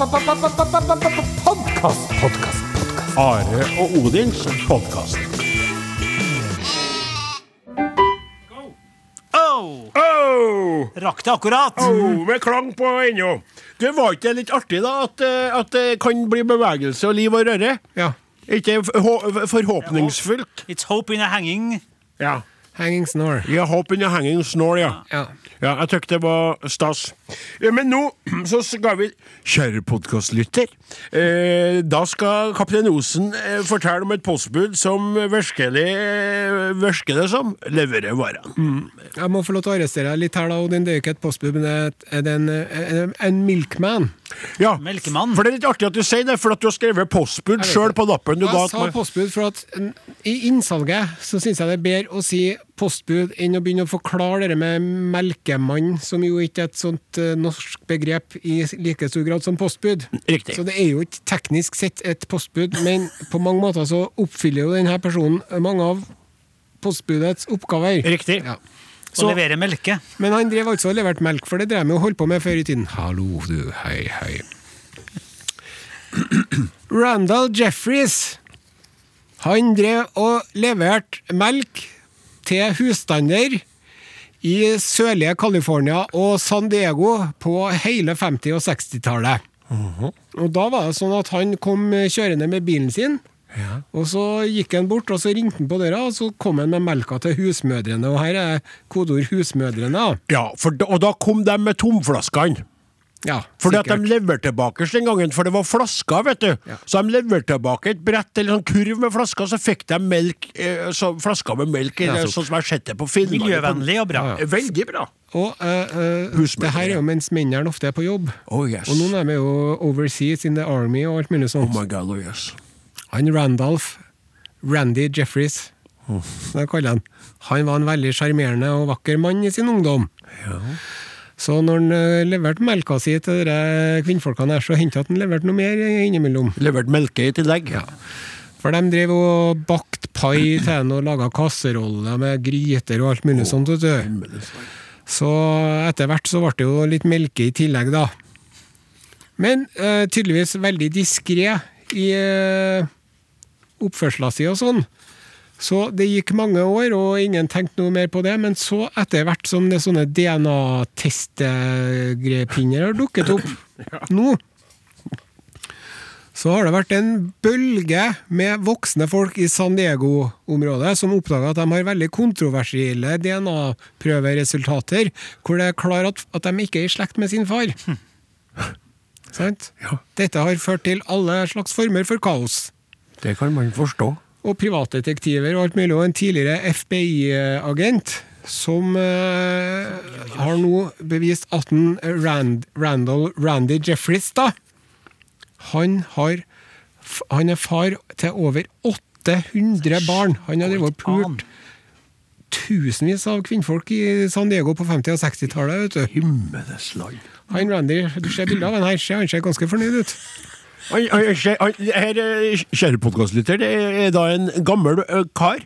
Are og Odins podkast. Oh, Oh, rakk det akkurat! oh, med klang på ennå. Det var ikke det litt artig, da? At, eh, at det kan bli bevegelse og liv og røre? Ja. Er ikke det forhå- forhåpningsfullt? It's hope in a hanging. Ja. Hanging snore. Jeg håper jeg henger en snål, ja. Ja. Ja, jeg tykk det var stas. Eh, Men nå så skal vi Kjære podkastlytter. Eh, da skal Kaptein Osen eh, fortelle om et postbud som virkelig eh, virker det som leverer varene. Jeg må få lov til å arrestere deg litt her, da, Odin. Det er jo ikke et postbud, men det er et- er det en, en, en milkman. Ja, Melkemann. for det er litt artig at du sier det, for at du har skrevet postbud sjøl på lappen du ga Jeg sa til meg. postbud, for at n- i innsalget så syns jeg det er bedre å si postbud enn å begynne å forklare det med melkemann, som jo ikke er et sånt eh, norsk begrep i like stor grad som postbud. Riktig. Så det er jo ikke teknisk sett et postbud, men på mange måter så oppfyller jo denne personen mange av postbudets oppgaver. Riktig. Ja. Og leverer melke. Men han drev altså og leverte melk, for det drev han jo og holdt på med før i tiden. Hallo, du. Hei, hei. Randall Jeffries. Han drev og leverte melk til husstander i sørlige California og San Diego på hele 50- og 60-tallet. Og da var det sånn at han kom kjørende med bilen sin, og så gikk han bort, og så ringte han på døra, og så kom han med melka til husmødrene, og her er kodeord 'husmødrene'. da. Ja, for da, og da kom de med tomflaskene. Ja, Fordi at sikkert. de leverte tilbake den gangen, for det var flasker, vet du. Ja. Så de leverte tilbake et brett eller sånn kurv med flasker, så fikk de melk, eh, så flasker med melk, eller Ja, så- sånn som jeg har sett det på Finnmark. Miljøvennlig og bra. Ja, Eh, Veldig bra. Og eh, eh, Husmødre. det her er jo mens mennene ofte er på jobb. Oh yes. Og noen er med jo overseas in the army og alt mulig Oh sånt. my god, oh yes. han Randolph, Randy Jeffries, Oh. som jeg kaller han, han var en veldig sjarmerende og vakker mann i sin ungdom. Så når han eh, leverte melka si til dere kvinnfolkene her, så hendte det at han leverte noe mer innimellom. Levert melke i tillegg. For de drev og bakte pai til henne og laga kasseroller med gryter og alt mulig sånt. vet du. Så etter hvert så ble det jo litt melke i tillegg, da. Men eh, tydeligvis veldig diskré i eh, oppførsla si og sånn. Så det gikk mange år, og ingen tenkte noe mer på det. Men så, etter hvert som det sånne DNA-testegreiepinner har dukket opp nå, så har det vært en bølge med voksne folk i San Diego-området som oppdaga at de har veldig kontroversielle DNA-prøveresultater, hvor det er klart at, at de ikke er i slekt med sin far. Sant? Ja. Dette har ført til alle slags former for kaos Det kan man forstå. og privatdetektiver og alt mulig, og en tidligere FBI-agent som eh, har nå bevist at en Rand, Randall Randy Jeffries, da han, har, f- han er far til over 800 barn. Han har drevet og pult tusenvis av kvinnfolk i San Diego på 50- og 60-tallet. vet du. Himmeles land. Han Randy, du ser bilder av han her, ser- han ser ganske fornøyd ut. Oi, oi, oi, skje- oi, Her, eh, kjære podkastlytter, det er da en gammel ø, kar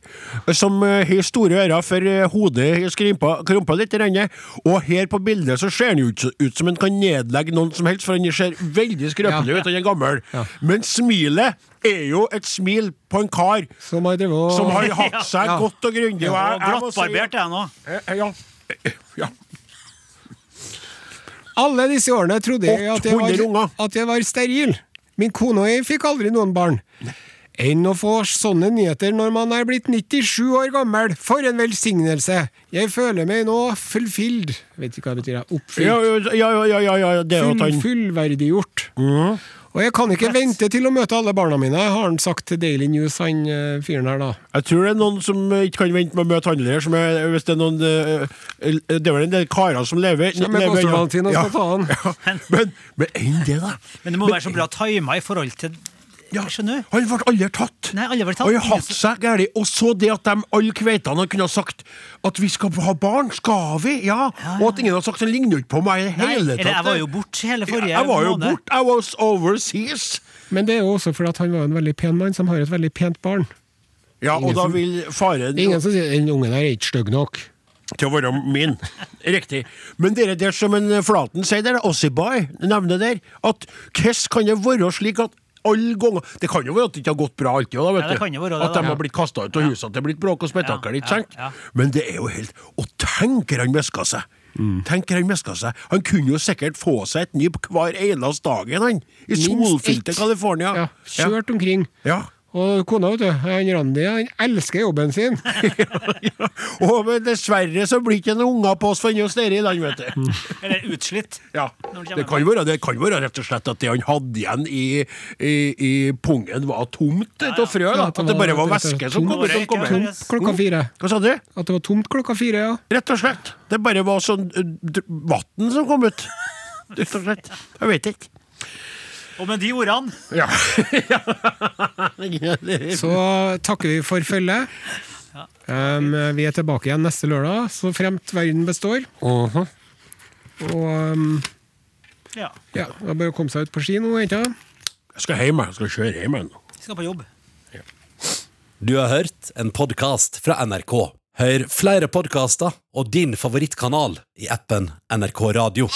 som eh, har store ører, for eh, hodet har skrimpa krumpa litt. i renne, Og her på bildet så ser han jo ikke ut som han kan nedlegge noen som helst, for han ser veldig skrøpelig ut, han er gammel. Men smilet er jo et smil på en kar Som har drevet og som har hatt seg Ja. godt og grundig. Og jeg- jeg må si- Glattbarbert er jeg nå. Eh, Ja. Eh, ja. Alle disse årene trodde jeg at jeg 800 var, unger. at jeg var steril. Min kone og jeg fikk aldri noen barn. Enn å få sånne nyheter når man er blitt 97 år gammel. For en velsignelse! Jeg føler meg nå fulfilled. Vet ikke hva det betyr. jeg. Ja, Oppfylt. ja, ja, ja, ja, ja, det er at Full, han Mhm. fullverdiggjort. Og Og jeg kan ikke vente til å møte alle barna mine, har han sagt til Daily News, han eh, fyren her, da. Jeg tror det er noen som eh, ikke kan vente med å møte handlere. Som er, hvis det, er noen, eh, eh, det er vel en del karer som lever Kjem med lever- Konstantin og ja. skal ta han. Men, men enn det, da. Men det må være så bra tima i forhold til Ja, Skjønner du? Han ble aldri tatt. Nei, alle ble tatt. Og jeg hatt seg gærlig. Og så det at de alle kveitene kunne ha sagt at vi skal ha barn, skal vi? Ja. Og at ingen har sagt den ligner jo ikke på meg i det Nei, hele eller tatt. jeg var jo bort hele forrige Jeg var jo måned. bort. I was overseas. Men det er jo også fordi at han var en veldig pen mann som har et veldig pent barn. Ja, og Ingen da som- vil faren Det er ingen som sier 'den ungen der er ikke stygg nok'. til å være min. Riktig. Men dere der som en Flaten sier der, Ossibai nevner der, at hvordan kan det være slik at alle ganger Det kan jo være at det ikke har gått bra alltid, da, vet Ja, det du. kan jo være det, at de da. har blitt kasta ut av huset, at det er blitt bråk og spetakkel, Ja, ikke sant? ja, ja. Men det er jo helt Og tenker han meska seg! Mm. Tenker Han meska seg. Han kunne jo sikkert få seg et nyp hver eneste dagen, han! I solfylte ett. California. Ja, kjørt omkring. Ja. Og kona, vet du, han Randi, han elsker jobben sin. ja. Og men dessverre så blir ikke noen unger på oss for oss nede i land, vet du. Mm. Eller utslitt. Ja, Når det det kommer kan, være, det kan være rett og slett at det han hadde igjen i, i, i pungen, var tomt av frø. Da. At det bare var væske som kom ut. som kom ut. Tomt klokka fire. Hva sa du? At det var tomt klokka fire, ja. Rett og slett. Det bare var sånn vann som kom ut. Rett og slett. Jeg vet ikke. Og med de ordene Ja. Så takker vi for følget. Um, vi er tilbake igjen neste lørdag, så fremt verden består. Mhm. Og um, Ja. ja, det er bare å komme seg ut på ski nå, jenta. Jeg skal hjem, jeg. jeg. Skal kjøre hjem, jeg nå. Vi skal på jobb. Du har hørt en podkast fra NRK. Hør flere podkaster og din favorittkanal i appen NRK Radio.